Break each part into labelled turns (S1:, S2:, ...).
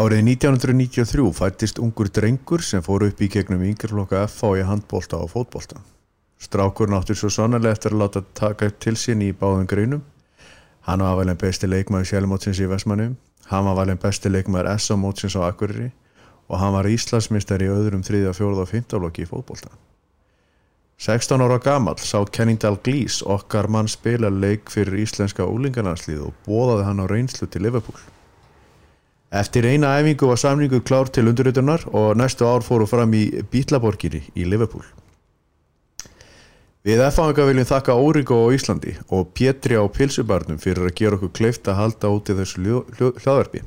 S1: Árið 1993 fættist ungur drengur sem fór upp í gegnum yngjaflokka FH í handbólta og fótbólta. Strákur náttur svo sannarlega eftir að láta taka til sín í báðum greinum. Hann var valinn besti leikmaður sjálfmótsins í Vestmannum, hann var valinn besti leikmaður SA mótsins á Akureyri og hann var Íslandsmyndstar í öðrum 3., 4. og 5. blokki í fótbólta. 16 ára gamall sá Kenningdal Glís okkar mann spila leik fyrir íslenska úlingarnarslið og bóðaði hann á reynslu til Liverpool. Eftir eina æfingu var samningu klár til undurritunar og næstu ár fóru fram í Bítlaborginni í Liverpool. Við F-anga viljum þakka Órigo á Íslandi og Pétri á Pilsubarnum fyrir að gera okkur kleift að halda úti þessu hljó- hljó- hlaðverfi.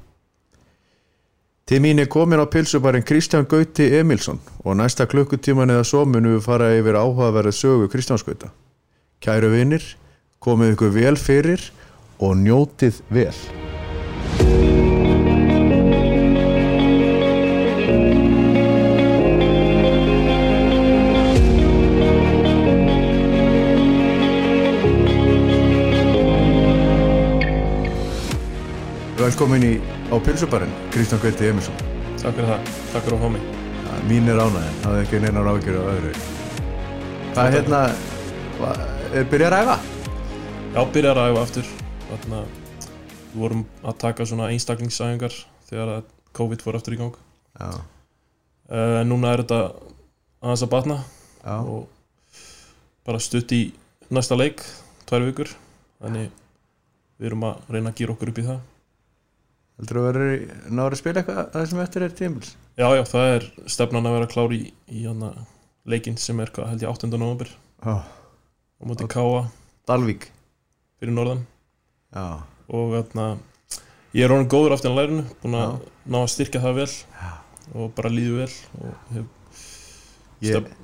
S1: Til mín er komin á pilsubarinn Kristján Gauti Emilsson og næsta klukkutíman eða svo munum við fara yfir áhugaverðið sögu Kristjáns Gauta. Kæru vinnir, komið ykkur vel fyrir og njótið vel. Velkomin í á pilsubarinn Kristján Gauti Emilsson.
S2: Takk fyrir það, takk fyrir að fá mig
S1: Ja, Mín er ánæðin, það er ekki neinar ágjur af öðru. Hvað er hérna, hva, er byrjað að ræfa?
S2: Já, byrjar að æfa aftur Þarna, Við vorum að taka svona einstaklingsæfingar þegar að COVID fór aftur í gang
S1: Já,
S2: Eh, En núna er þetta aðeins að batna
S1: já,
S2: og bara stutt í næsta leik, tvær vikur Þannig við erum að reyna að gýra okkur upp í það
S1: heldur þú að verður náður að spila eitthvað að það sem eftir er tímils?
S2: Já, já, það er stefnan að vera klár í, í hana, leikinn sem er hvað held ég 8. november
S1: Já,
S2: á móti Káa
S1: Dalvík.
S2: fyrir norðan
S1: Já,
S2: og þarna ég er orðin góður aftur á lærinu búin að ná að styrkja það vel
S1: Já.
S2: og bara líðu vel og hef
S1: ég,
S2: Stöp-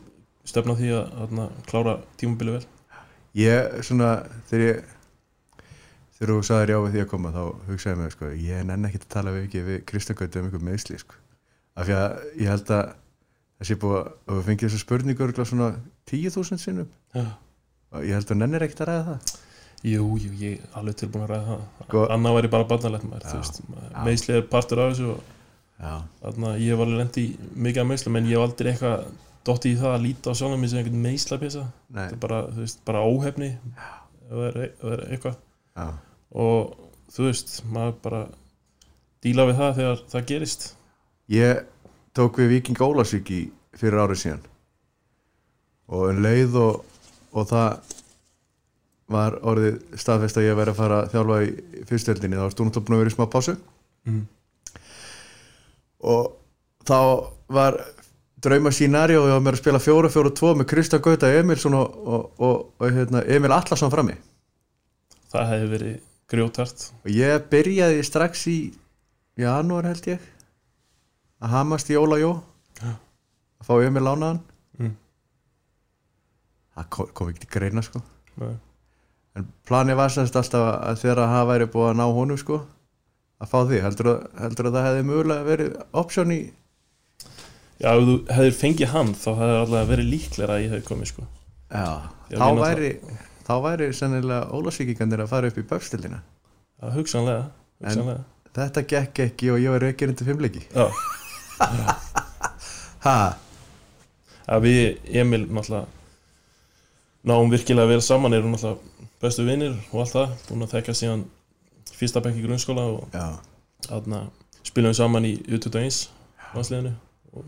S2: stefna því að þarna, klára tímabili vel
S1: ég svona þegar ég þegar þú sagðir já við því að koma þá hugsaði ég mig sko, ég nenn ekki að tala við ekki við Kristján Gauti um einhver meðsli sko. af því að ég held að þessi búið að að við fengið þessar spurningur örugglega svona 10.000 sinnum
S2: Já.
S1: og ég held að nennir ekkert að ræða það
S2: jú, jú, ég er alveg tilbúin að ræða það
S1: Sko-
S2: annað væri bara barnalegt maður þú veist, meðsli er partur af þessu og
S1: já,
S2: þarna, ég hef alveg lent í mikið af meðsli menn ég hef aldrei eitthvað dotti í það að líta á sjálfum mig sem einhvern meðsla pjasa
S1: nei
S2: þetta er bara, þú veist, bara óhefni ef það er, e- ef það er eitthvað
S1: já,
S2: og þú veist, maður bara díla við það þegar það gerist
S1: ég tók við Viking Ólasvík í fyrir árið síðan og en leið og, og það var orðið staðfest að ég væri að fara að þjálfa í fyrstöldinni þá var stúrnatótt búin að vera í smá pásu
S2: mm.
S1: og þá var drauma sínari og ég var mér að spila 4-4-2 með Krista Gauta Emilsson og, og, og, og hérna, Emil Allarsson frammi
S2: það hefði verið grjótart
S1: og ég byrjaði strax í janúar held ég að hamast í Óla Jó
S2: Já.
S1: að fá Emil lánaðan
S2: Mm.
S1: það kom, kom ekki til greina sko
S2: Nei.
S1: en planið var sannst alltaf að þegar að hafa væri búið að ná honum sko að fá því, heldur að, heldur að það hefði mögulega verið option í
S2: já, ef þú hefðir fengið hann þá hefði allavega verið líklega að ég hefði komið sko.
S1: Já,
S2: Ég
S1: þá
S2: meina
S1: væri, þá væri sennilega óláfsvíkikandir að fara upp í böfstildina.
S2: já, hugsanlega, hugsanlega.
S1: Þetta gekk ekki og ég var reykjurinn til fimmleiki.
S2: Já.
S1: Ha,
S2: að við Emil náttúrulega náum virkilega vel saman erum náttúrulega bestu vinnir og allt það búin að þekka síðan fyrsta bekk í grunnskóla og
S1: já,
S2: þarna spilum við saman í U21 landsliðinu og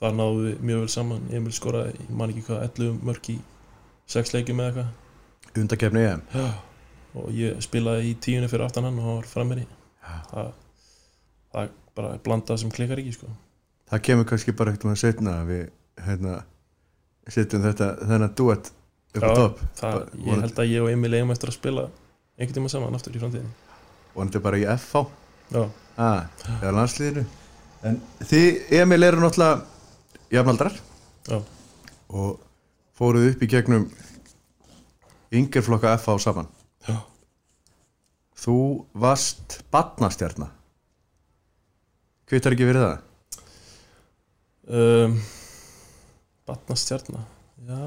S2: þar náðum við mjög vel saman Emil skoraði, ég man ekki hvað, 11 mörg í 6 leikjum eða
S1: undakefni EM.
S2: eitthvað og ég spilaði í tíunni fyrir aftan hann og hann var frammeiri
S1: Já.
S2: það, það er bara blandað sem klikkar ekki sko.
S1: Það kemur kannski bara ekkert maður setna að við, hérna, setjum þetta, þennan duett upp á
S2: Já,
S1: topp.
S2: það,
S1: Bara-
S2: ég held að ég og Emil eigum eftir að spila einhvern tíma saman aftur í framtíðin
S1: Og hann er bara í FH,
S2: Já,
S1: ha, eða landslíðinu. En þið, Emil, eru náttúrulega jafnaldrar
S2: já,
S1: og fóruð upp í gegnum yngjörflokka FH saman.
S2: já,
S1: Þú varst batnastjarnar Kvittar ekki verið það?
S2: um, Batnastjarna Já,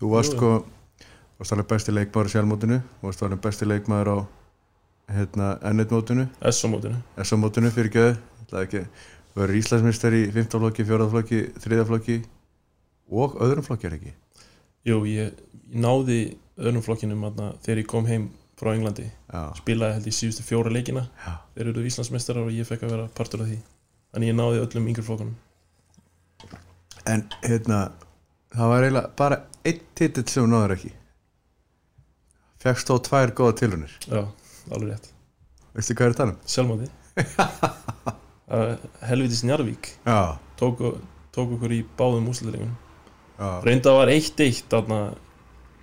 S1: Þú varst
S2: Jú,
S1: sko varst alveg besti leikmaður í sjálfmótinu varst alveg besti leikmaður á hérna, N1-mótinu,
S2: S-mótinu
S1: S-mótinu fyrir geðu Það er ekki, verður Íslandsmeistar í 15 flokki, 4 flokki, 3 flokki og öðrum flokki er ekki
S2: Jú, ég, ég náði öðrum flokkinum aðna, þegar ég kom heim frá Englandi
S1: Já,
S2: spilaði held ég síðustu fjóra leikina
S1: já,
S2: þeir eru Íslandsmeistarar og ég fekk að vera partur af því þannig ég náði öllum yngri flokkunum
S1: en hérna það var eiginlega bara einn titill sem þú náður ekki Fjekkst þó tvær góða tilhunir
S2: já, alveg rétt,
S1: Veistu hvað er að tala um?
S2: sjálfmáði uh, Helvitis Njarvík
S1: Já,
S2: tók, tók okkur í báðum úsleikum
S1: já,
S2: reynda var 1-1 þarna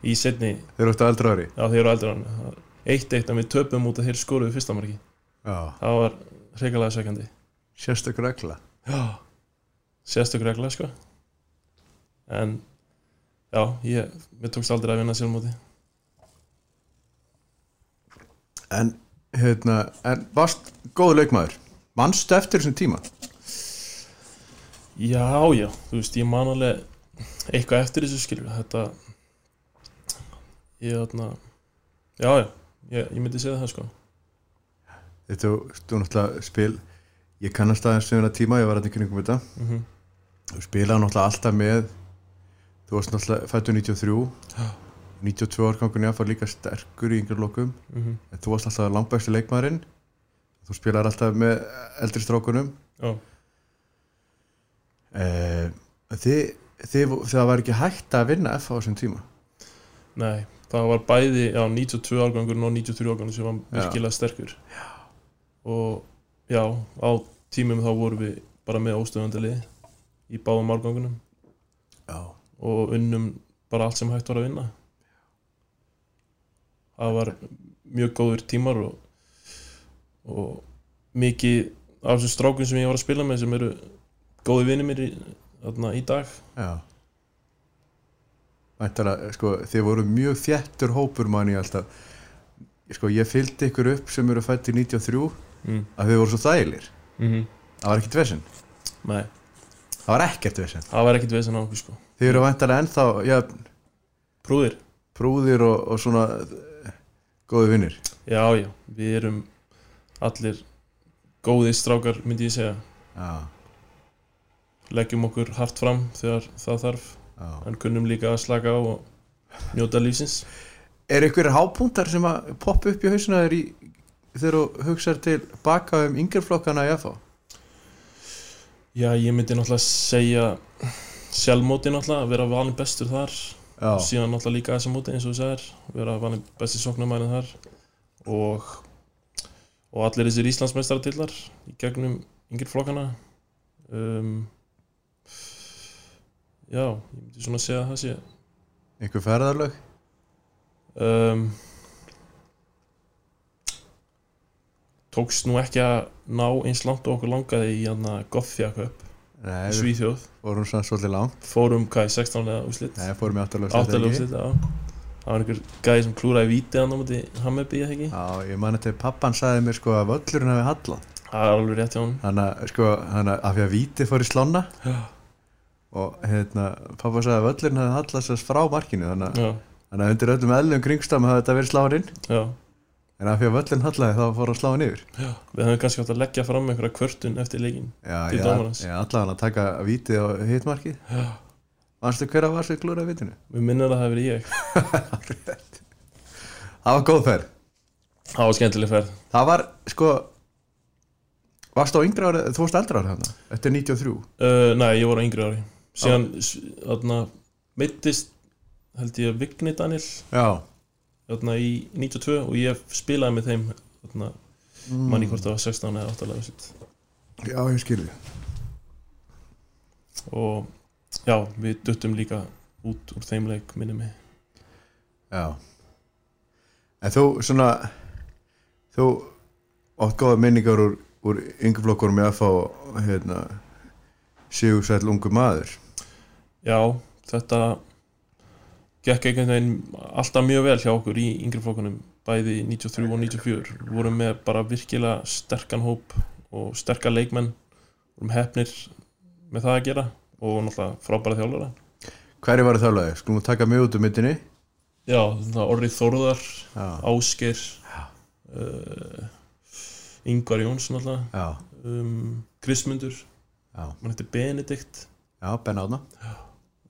S2: í setni
S1: þeir eru eftir aldra ári
S2: já, þeir eru aldrei hann 1-1 að við töpum út að þeir skoruðu fyrsta marki
S1: Já,
S2: það var hrikalega sækjandi
S1: sérstakur ekla
S2: Já, sérstök regla sko En Já, ég, mér tókst aldrei að vinna sjálfmóti
S1: En hérna, en varst góð leikmaður Manstu eftir þessum tíma?
S2: Já, já, þú veist, ég man alveg Eitthvað eftir þessu skilur Þetta Ég þarna Já, já, ég, ég myndi segja það sko
S1: Þetta þú náttúrulega spil Ég kannast aðeins við hérna tíma, ég var að kringum þetta
S2: mm
S1: þú spilaði náttúrulega alltaf með þú varst náttúrulega fættu 93
S2: Já.
S1: 92 árgangun ég var líka sterkur í yngri lokum
S2: -hmm.
S1: en þú varst alltaf langbæsti leikmaðurinn þú spilaði alltaf með eldri strákunum
S2: Já,
S1: eh, þið, þið, það var ekki hægt að vinna F á þessum tíma
S2: nei, það var bæði Já, 92 árgangur og 93 árgangur sem var
S1: Já.
S2: virkilega sterkur Já Og já, á tímum þá vorum við bara með óstöðandalið í báðum árgangunum
S1: Já.
S2: og unnum bara allt sem hægt var að vinna það var mjög góður tímar og, og mikið af þessum strákum sem ég var að spila með sem eru góði vinni mér í, þarna, í dag
S1: Já. Væntanlega, sko, þið voru mjög þjættur hópur manni alltaf sko, ég fylgdi ykkur upp sem eru fætt í 93
S2: mm.
S1: að þið voru svo þægilir
S2: Mm -hmm.
S1: það var ekkert vesinn
S2: Nei,
S1: það var ekkert vesinn
S2: það var ekkit veginn á okkur sko
S1: Þið eru vantarlega ennþá ja,
S2: Prúðir?
S1: prúðir og, og svona eh, góði vinnir.
S2: Já, já, við erum allir góði strákar myndi ég segja
S1: Já,
S2: leggjum okkur hart fram þegar það þarf
S1: já.
S2: en kunnum líka að slaka á og njóta lífsins
S1: Er einhverjir hápunktar sem að poppa upp í hausina þér í þegar þú hugsar til baka um yngjörflokkana í FH?
S2: Já, ég myndi náttúrulega segja sjálfmóti náttúrulega, að vera valin bestur þar og
S1: Já.
S2: síðan náttúrulega líka þessa móti eins og þú sagðir, vera valin besti sóknarmærin þar og og allir þessir Íslandsmeistaratillar í gegnum yngir flokkana um, Já, ég myndi svona segja að það sé
S1: Einhver ferðarlög?
S2: um, Tókst nú ekki að ná eins langt og okkur langaði í hann að Gothia Cup
S1: Nei,
S2: í
S1: við
S2: Svíþjóð
S1: fórum svona svolítið langt.
S2: fórum hvað í 16 leða úslit
S1: Nei, fórum í áttalög.
S2: áttaljófslit það var einhver gæði sem klúraði víti hann á móti Hammerby eða ekki
S1: Já, ég man þetta að pappan sagði mér sko að völlurinn hafi hallað.
S2: það er alveg rétt hjá hann
S1: Þannig að sko, þannig að af því að vítið fór í slána og hérna, pappa sagði að völlurinn hafi hallað sérst frá markinu. Þannig að,
S2: já,
S1: þannig að undir öllum eðlum kringstam hafi þetta verið sláinn inn.
S2: já,
S1: En af því að völlin hallaði þá fór að slá hann yfir
S2: já við hefum kannski átt að leggja fram einhverja kvörtun eftir leikin
S1: Já,
S2: Til
S1: ég,
S2: dómarans.
S1: ég allavega hann að taka vítið á hitmarkið
S2: já,
S1: Manstu hver að var sem glúraði vitinu?
S2: við minnum að það hefur ég
S1: Það var góð ferð
S2: það var skemmtileg ferð
S1: Það var, sko Varst á yngra ára, þú varst eldra ára hann Þetta er 93
S2: uh, nei, ég voru á yngri ári síðan s- þarna mittist held ég Vigni Daniel
S1: Já,
S2: þarna í 92 og ég spilaði með þeim þarna manni hvort það var 16 eða 8 leða úslit
S1: Mm, já, ég skilji
S2: og já, við duttum líka út úr þeim leik minni mig
S1: Já En þú, svona Þú átt góða minningar úr, úr yngurflokkurum í FH og, hérna, Sigursæll ungu maður
S2: Já, þetta gekk einhvern veginn alltaf mjög vel hjá okkur í yngri flokkunum bæði 93 og 94 Við vorum með bara virkilega sterkan hóp og sterka leikmenn vorum hefnir með það að gera og náttúrulega frábæra þjálfara
S1: Hverju var það lögði? Skulum við taka mig út um myndinni
S2: Já, þetta orrið Þórðar
S1: Já,
S2: Ásker uh, Ingvar Jónsson alltaf
S1: já,
S2: um, Krismundur,
S1: já,
S2: mann heitir Benedikt
S1: já, Ben Átna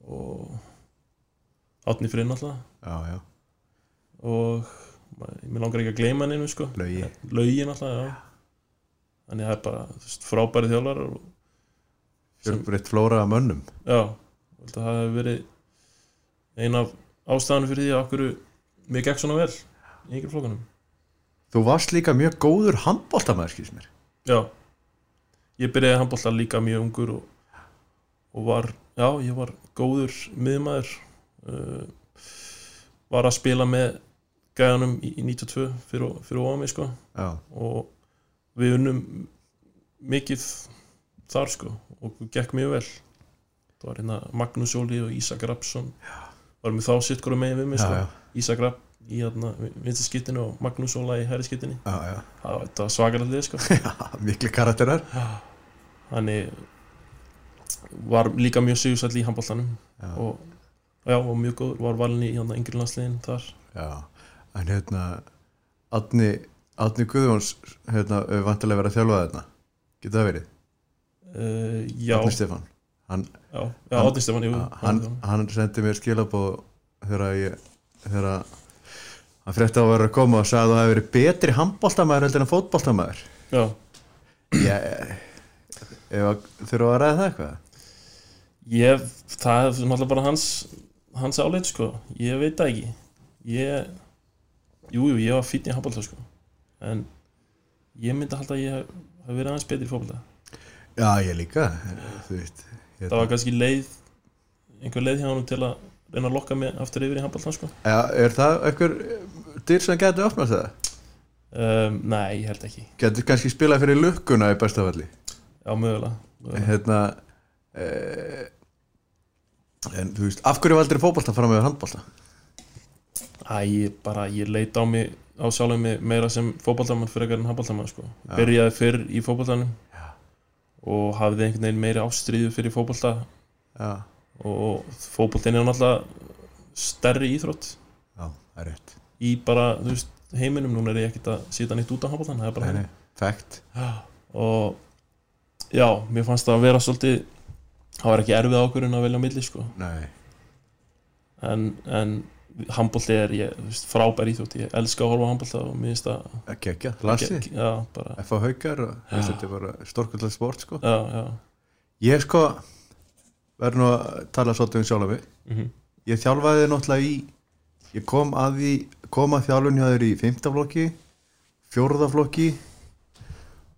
S2: og Átni Frinn alltaf
S1: já, já,
S2: og ma- mér langar ekki að gleyma hann einu sko
S1: Laugi
S2: Laugin alltaf, já Þannig að það er bara þú veist, frábæri þjálfarar og sem-
S1: fjölbreytt flóra af mönnum
S2: Já, ég held að það hefur verið ein af ástæðanum fyrir því að okkur mér gekk svona vel í yngri flokkanum.
S1: þú varst líka mjög góður handbóltamæður skýrst mér
S2: Já, ég byrjaði handbólta líka mjög ungur og, og var, já, ég var góður miðmaður uh, var að spila með gæðanum í, í 92 fyrir, fyrir ofan mig sko
S1: já,
S2: og við unnum mikið þar sko og gekk mjög vel það var hérna Magnús Óli og Ísak Rapsson varum við þá sitt hverju megin við mig
S1: já,
S2: sko.
S1: já,
S2: Ísak Rapp í hérna vinstaskittinu og Magnús Óla í herriskittinni
S1: já, já.
S2: það var- þetta var svakarallið sko
S1: mikli karakterar
S2: þannig var líka mjög sigursæll í handbóltanum
S1: Já.
S2: og já, og mjög góður var valin í hérna yngri landsliðin þar
S1: já, en hérna Adni, Adni Guðjóns hérna, vantilega verið að þjálfa þarna getur það verið,
S2: uh, já,
S1: Adni Stefán hann,
S2: já, já,
S1: Hann-
S2: Átni Stefán, jú
S1: hann, hann sendi mér skilabóð þegar ég þegar hann frétti að vera að koma og sagði að það hefði verið betri handbóltamæður heldur en fótbóltamæður
S2: já
S1: ég eh, ef að þurfa að ræða það eitthvað
S2: Ég, það er náttúrulega bara hans hans áleit sko, ég veit það ekki ég jú, jú, ég var fýtt í handbólta sko en ég myndi halda að ég hef- hef verið aðeins betri í fótbolta
S1: já ég líka þú veit hérna.
S2: það var kannski leið einhver leið hjá hann til að reyna að lokka mig aftur yfir í handbólta sko
S1: Já, er það einhver dyr sem getur opnað það?
S2: um, nei, ég held ekki,
S1: Getur kannski spilað fyrir lukkuna í bestafalli
S2: já, mögulega, mögulega.
S1: hérna e, en þú veist, af hverju valdur fótbolta fram með handbolta?
S2: Æ, ég bara, ég leit á mig á sjálfum mig meira sem fótboltamann fyrir en handboltamann sko,
S1: Já.
S2: ég byrjaði fyrr í fótboltanum
S1: Já.
S2: og hafði einhvern veginn meiri ástríðu fyrir fótbolta
S1: Já,
S2: og fótboltin er náttúrulega stærri íþrótt
S1: já það er rétt
S2: í bara, þú veist, heiminum núna er ég ekkert að sita nýtt út á handboltan, það er bara
S1: Nei, nei, Fact
S2: þannig. og já, mér fannst það að vera svolítið það var ekki erfið ákvörðun að velja á milli sko.
S1: Nei,
S2: en, en handbolti er ég, þú veist, frábær íþrótt ég elska að horfa á handbolta og mér finnst það
S1: ekki ekki, Lassi
S2: já, bara,
S1: F.A. Haukar og þú veist, þetta er bara stórkvöldlega sport sko
S2: já, já
S1: Ég sko, verður nú að tala svolítið um sjálf mig
S2: mm
S1: Ég þjálfaði þig náttúrulega í Ég kom að því, kom að þjálfun hjá þér í fimmtaflokki, fjórðaflokki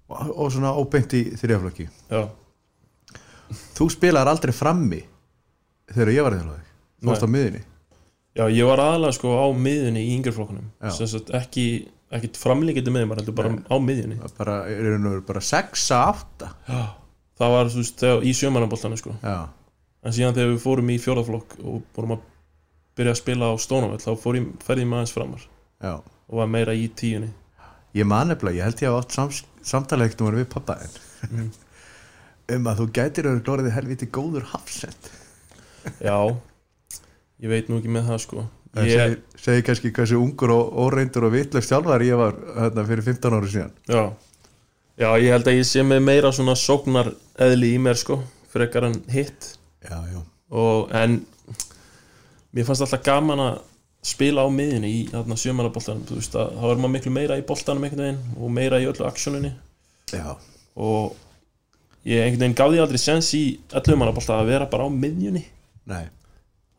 S1: og, og svona óbeint í þriðaflokki
S2: já,
S1: Þú spilar aldrei frammi þegar ég var að þjálfaði Þú varst á miðinni
S2: já, ég var aðalega sko á miðunni í yngri flokkunum
S1: Já.
S2: sem sagt ekki, ekki framlíkjandi miðum, maður heldur bara á miðunni
S1: Það bara, er raun og veru bara 6 að 8
S2: Já, það var þú veist, þegar, í sjömannaboltanum sko.
S1: Já,
S2: en síðan þegar við fórum í fjóraflokk og vorum að byrja að spila á stónavöll þá fór ég, ferði ég með aðeins framar
S1: já
S2: og var meira í tíunni
S1: Ég man nefnilega, ég held ég hafa átt sams, samtalið ekkert um við pappa þinn um að þú gætir að glóriði helviti góður hafsend
S2: Já, ég veit nú ekki með það sko
S1: Það
S2: ég,
S1: segir, segir kannski hversu ungur og óreindur og vitlaust þjálfari ég var hérna, fyrir 15 ári síðan
S2: já, já, ég held að ég sé með meira svona sóknar eðli í mér sko frekar en hitt
S1: Já, já,
S2: og, en mér fannst alltaf gaman að spila á miðinni í þarna sjömannaboltanum þú veist að þá er maður miklu meira í boltanum einhvern veginn og meira í öllu aksjóninni
S1: já,
S2: og ég einhvern veginn gaf því aldrei sens í allum mannabólta að vera bara á miðjunni
S1: nei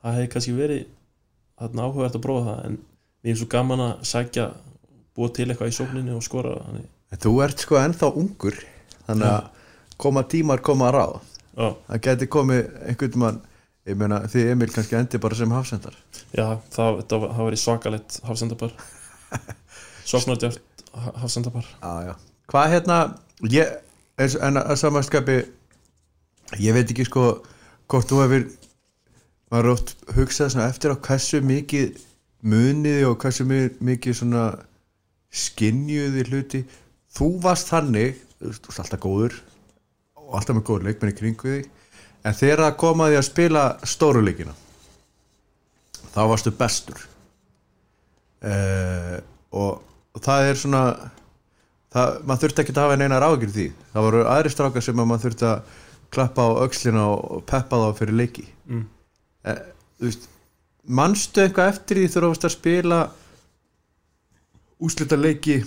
S2: það hefði kannski verið þarna áhugavert að prófa það en mér er svo gaman að sækja búa til eitthvað í sókninni og skora þannig,
S1: en Þú ert sko ennþá ungur þannig að koma tímar koma ráð
S2: já,
S1: það gæti komið einhvern mann ég meina þið Emil kannski endi bara sem hafsendar
S2: já það, það, það verið svakalett hafsendapar sóknardjárt hafsendapar
S1: Já, já Hvað hérna, ég, eins- en að samanskapi ég veit ekki sko hvort þú hefur maður er oft hugsað svona eftir á hversu mikið muniði og hversu mi- mikið svona skinjuði hluti þú varst þannig, þú veist, þú varst alltaf góður og alltaf með góður leikmenn í kringu því en þegar það kom að því að spila stóru leikina þá varstu Eh, bestur uh, og það er svona það, maður þurfti ekki að hafa neina ráðgjur því það voru aðri strákar sem að maður þurfti að klappa á öxlina og peppa þá fyrir leiki
S2: Mm.
S1: e, þú veist, manstu eitthvað eftir því þegar þú varst að spila úslita leiki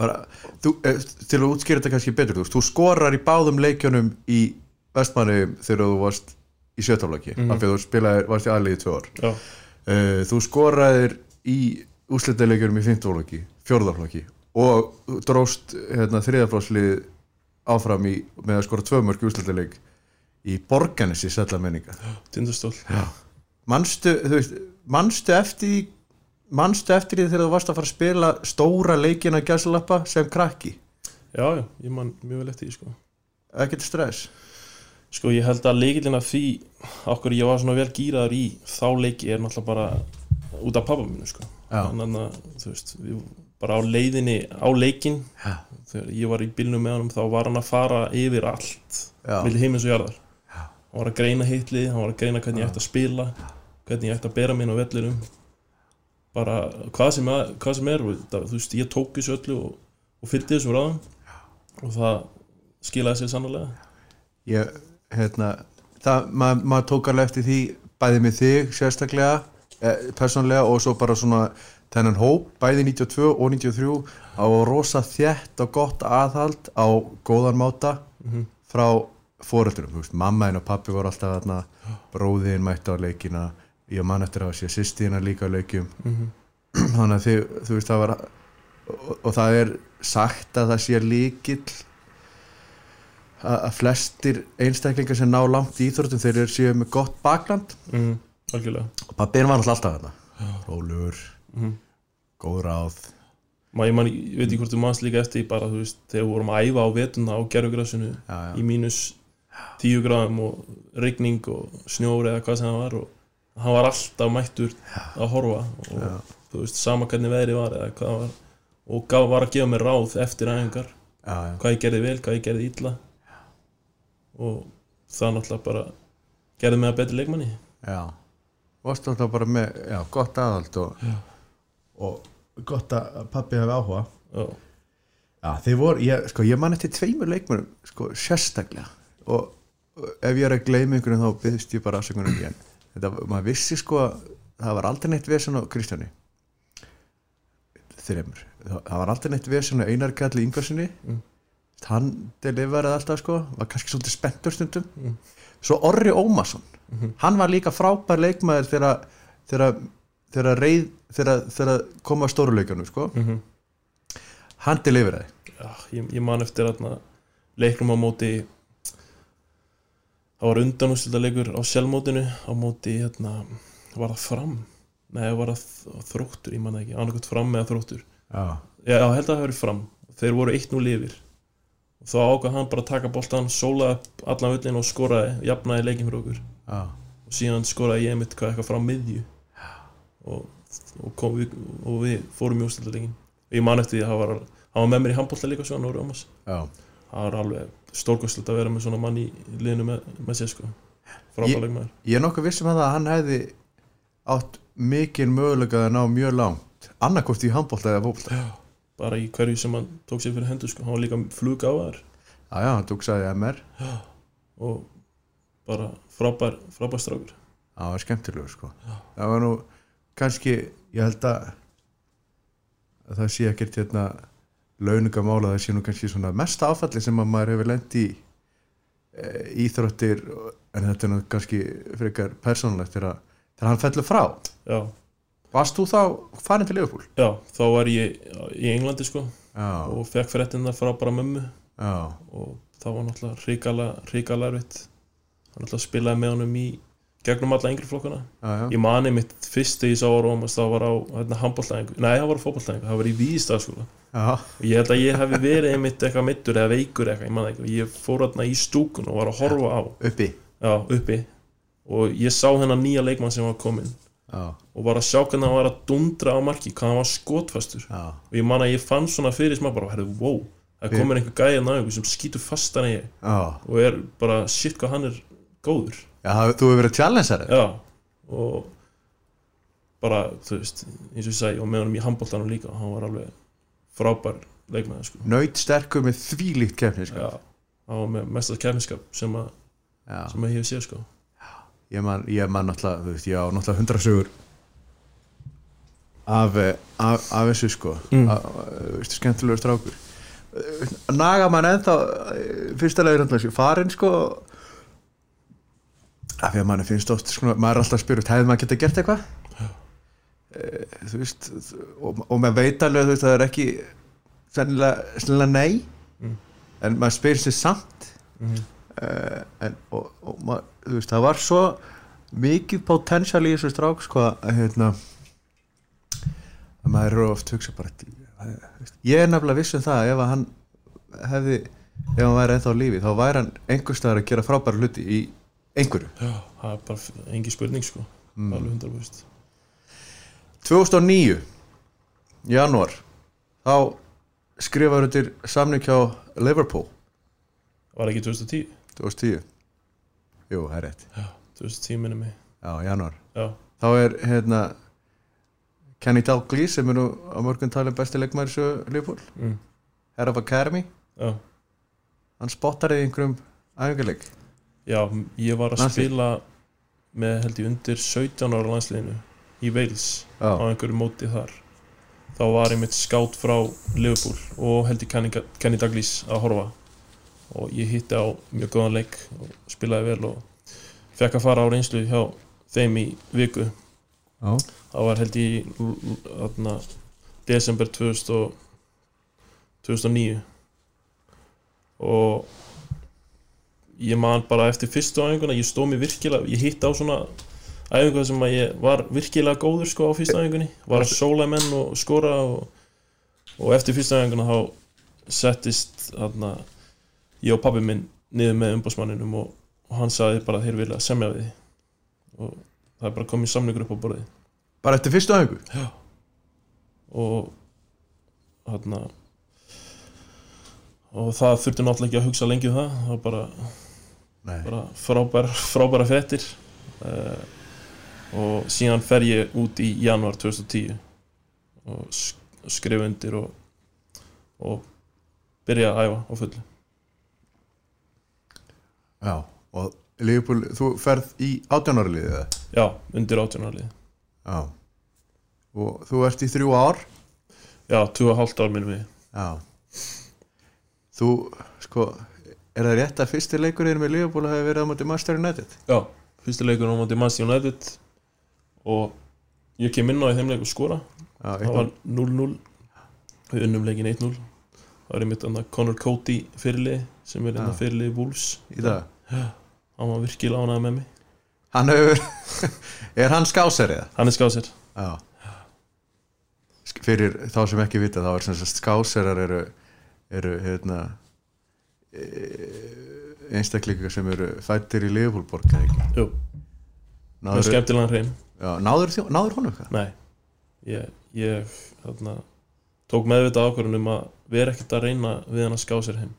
S1: bara þú, e, til að útskýra þetta kannski betur þú, veist, þú skorar í báðum leikjunum í vestmanniðum þegar þú varst í sjötaflaki, mm
S2: Mhm.
S1: af því að þú spilaði varst í aðliði tvö ár
S2: já,
S1: Uh, þú skoraðir í úslitaðleikjum í 15 flokki, 14 flokki og þú dróst hérna, þriðaflóslið áfram í, með að skora tvö mörg úslitaðleik í borganessi sætla menninga
S2: tindastól
S1: manstu, þú veist, manstu eftir því manstu eftir því þegar þú varst að fara að spila stóra leikina gæslappa sem krakki,
S2: já, já, ég man mjög vel eftir því sko.
S1: ekkert stress
S2: Sko ég held að leikillina því okkur ég var svona vel gýraður í þá leiki er náttúrulega bara út af pappa mínu sko
S1: Já.
S2: Þannig að þú veist, við bara á leiðinni á leikin
S1: Já.
S2: þegar ég var í bílnum með honum þá var hann að fara yfir allt
S1: já,
S2: milli heimins og jarðar hann var að greina hitlið, hann var að greina hvernig ég ætti að spila hvernig ég ætti að bera minn á vellinum bara hvað sem, að, hvað sem er og það, þú veist, ég tók þessu öllu og, og fylgdi þessu ráðum og það skilaði sér sannlega
S1: ég, hérna það, ma- maður tók alveg eftir því bæði með þig sérstaklega eh, persónlega og svo bara svona þennan hóp, bæði 92 og 93 á rosa þjætt og gott aðhald á góðan máta frá fóreldurum, þú veist, mamma þín og pappi voru alltaf þarna, bróðin mætti á leikina ég man eftir að sé sýstina líka á leikjum þannig að þið, þú veist, það var og, og það er sagt að það sé líkill að að flestir einstaklingar sem ná langt í íþróttum þeir eru síðan með gott bakland
S2: mm, algjörlega
S1: og pappin var náttúrulega alltaf þetta rólur,
S2: Mhm.
S1: góð ráð
S2: Ma, ég, man, ég veit ekki hvort þú manst líka eftir því bara, þú veist, þegar við vorum að æfa á vetuna á gerfugrasinu
S1: já, já,
S2: í mínus tíu gráðum og rigning og snjóri eða hvað sem það var og hann var alltaf mættur að horfa og þú veist, sama hvernig veðri var eða hvað það var og gaf, var að gefa mér ráð eftir æfingar
S1: já, já.
S2: hvað ég gerði vel, hvað ég gerði illa og það náttúrulega bara gerði mig að betri leikmanni
S1: já. varst alltaf bara með já, gott aðhald og, og gott að pappi hefði áhuga
S2: og,
S1: Já, þeir voru, ég, sko, ég man eftir tveimur leikmönum, sko, sérstaklega og og ef ég er að gleyma einhvern þá byggðist ég bara afsökunum í þetta, maður vissi sko að það var aldrei neitt vesen á Kristjáni þreymur það það var aldrei neitt vesen á Einar Kalli Ingvarsinni
S2: Mm.
S1: hann deliveraði alltaf sko, var kannski svolítið spenntur stundum svo Orri Ómason hann var líka frábær leikmaður þegar þegar þegar reið þegar, þegar koma að stóruleikunum sko
S2: Mhm.
S1: hann deliveraði
S2: já, Ah, ég, ég man eftir þarna leiknum á móti það var undanúslita leikur á sjálfmótinu á móti hérna, var það fram nei, var það þróttur, ég man það ekki annarkvæmt fram eða þróttur
S1: Já.
S2: já, ég held að það hefur fram, þeir voru 1-0 yfir og þá ákvað hann bara að taka boltan sólaði upp allan völlin og skoraði jafnaði leikin fyrir okkur
S1: Já,
S2: og síðan skoraði ég mitt hvað eitthvað frá miðju og, og, kom, við, og við fórum í úslita leikin ég man eftir því að það var, hann var með mér í handbólta líka svo hann voru ámas
S1: já.
S2: það er alveg stórkostlegt að vera með svona mann í liðinu með, með sér sko
S1: Ég-
S2: frábæðleg maður
S1: Ég er nokkuð vissum að það að hann hefði átt mikinn mögulega að ná mjög langt annarkort í handbólta eða fótbolta
S2: bara í hverju sem hann tók sér fyrir hendur sko hann var líka flug á þær
S1: Já, já, hann tók sæði MR
S2: og bara frábær, frábær strákur
S1: Það var skemmtilegur sko Það var nú kannski, ég held að að það sé ekkert hérna launingamála, það sé nú kannski svona mesta áfalli sem að maður hefur lent í e, íþróttir og- en þetta er nú kannski frekar persónulegt þegar þegar hann fellur frá
S2: já,
S1: Varst þú þá farin til Liverpool?
S2: já, þá var ég í Englandi sko
S1: Já,
S2: og fekk fréttina frá bara mömmu
S1: já,
S2: og það var náttúrulega ríkala ríkala erfitt hann náttúrulega spilaði með honum í gegnum alla yngri flokkana
S1: já, já.
S2: ég mani mitt fyrst þegar ég sá á Rómas það var á hérna, handbóltæðingu, nei það var á fótbóltæðingu það var í sko. Víðistafskóla
S1: já.
S2: og ég held að ég hefði verið einmitt eitthvað mittur eða veikur eitthvað, ég man það ekki og ég fór hérna í stúkun og var að horfa á
S1: uppi
S2: já, uppi og ég sá hennan nýja leikmann sem var kominn
S1: já,
S2: og var að sjá hvernig hann var að dundra á marki hvað hann var skotfastur
S1: já,
S2: og ég man að ég fann svona fyrir smá bara, herðu, wow það komir einhver gæja náðu sem skýtur fastar en ég
S1: já.
S2: og er bara, shit hvað hann er góður
S1: já það- þú hefur verið challenger já.
S2: já, og bara, þú veist, eins og ég segi og með honum í handbóltanum líka, hann var alveg frábær leikmenn sko.
S1: Naut sterkur með þvílíkt kefni
S2: Já,
S1: sko.
S2: það var með mestað kæminskap sem, að-
S1: Já.
S2: sem að ég hef séð sko.
S1: Ég man, ég man náttúrulega, þú veist, ég á náttúrulega hundra sögur af, eh, af, af þessu sko
S2: Mm.
S1: af, þú veist, skemmtilegur strákur Eh, naga mann ennþá eh, fyrsta leiður ennþá farin sko af því að mann finnst oft sko, maður er alltaf að spyrja, út, hefði maður geta gert eitthvað Eh, þú veist og, og maður veit alveg, þú veist, það er ekki sennilega, sennilega nei
S2: Mm.
S1: en maður spyr sér samt
S2: mm
S1: uh, en, og, og maður, þú veist, það var svo mikið potential í þessu strák sko, að hérna að maður eru oft hugsa bara djú, eh, þú veist, ég er nefnilega viss um það að ef að hann hefði ef hann væri ennþá á lífi þá væri hann einhverstaðar að gera frábæra hluti í einhverju
S2: Já, það er bara engi spurning sko.
S1: Mm.
S2: alveg hundar búist
S1: 2009 janúar þá skrifaður undir samning hjá Liverpool
S2: Var ekki 2010?
S1: 2010 jú, það er rétt,
S2: Já, 2010 minni mig
S1: já, janúar
S2: Já,
S1: þá er hérna Kenny Dalglish sem er nú á mörgum talin besti leikmæri svo Leopold,
S2: mm.
S1: Head of Academy
S2: já.
S1: hann spottar í einhverjum æfingarleik
S2: já ég var að
S1: Landslið.
S2: spila með held ég undir 17 ára landsliðinu í Wales á
S1: já,
S2: einhverju móti þar þá var einmitt skátt frá Liverpool og held ég Kenny Kenny Dalglish að horfa og ég hitti á mjög góðan leik og spilaði vel og fekk að fara á reynslu hjá þeim í viku
S1: já.
S2: það var held ég í l- l- þarna, desember 2000 og- 2009 og ég man bara eftir fyrstu æfinguna ég stóð mér virkilega, ég hitt á svona æfingu sem að ég var virkilega góður sko á fyrstu æfingunni, var að sóla menn og skora og, og eftir fyrstu æfinguna þá settist þarna, ég og pabbi minn niður með umbásmanninum og, og hann sagði bara að þeir vilja semja við þig." og það er bara komið samningur upp á borðið
S1: bara eftir fyrstu æfingu
S2: og hérna og það þurfti náttúrulega ekki að hugsa lengi um það það var bara,
S1: Nei.
S2: bara frábær, frábæra frettir uh, og síðan fer ég út í januar 2010 og sk- skrifa undir og, og byrja að æfa á fullu
S1: já, og Leopold, þú ferð í 18 ára liðið það
S2: já, undir 18 ára lið
S1: já og þú ert í þrjú ár
S2: já, 2,5 ár minnum við
S1: já þú, sko er það rétt að fyrsti leikurinn með Leopold hafi verið á móti Master United
S2: Já, fyrsti leikur á móti Manchester United og ég kem inn á í þeim leik og skora
S1: já,
S2: það var 0-0 við unnum leikin 1-0 það var einmitt annað Connor Cody fyrirli sem er einna
S1: Já.
S2: fyrirli Wolves
S1: í dag
S2: hann var virkilega ánægð með mig
S1: hann hefur, er hann skásar eða?
S2: hann er skáð sér
S1: Já Sk- Fyrir þá sem ekki vita þá er sem sagt skáserar eru, eru hérna e- einstaklingar sem eru fættir í Leifúlborg
S2: Jú. með
S1: náður,
S2: skemmtilegan hreim
S1: já, náður, þjó- náður honum eitthvað?
S2: nei ég, ég þarna, tók meðvitað ákvörðun um að vera ekkert að reyna við hann að skáð sér heim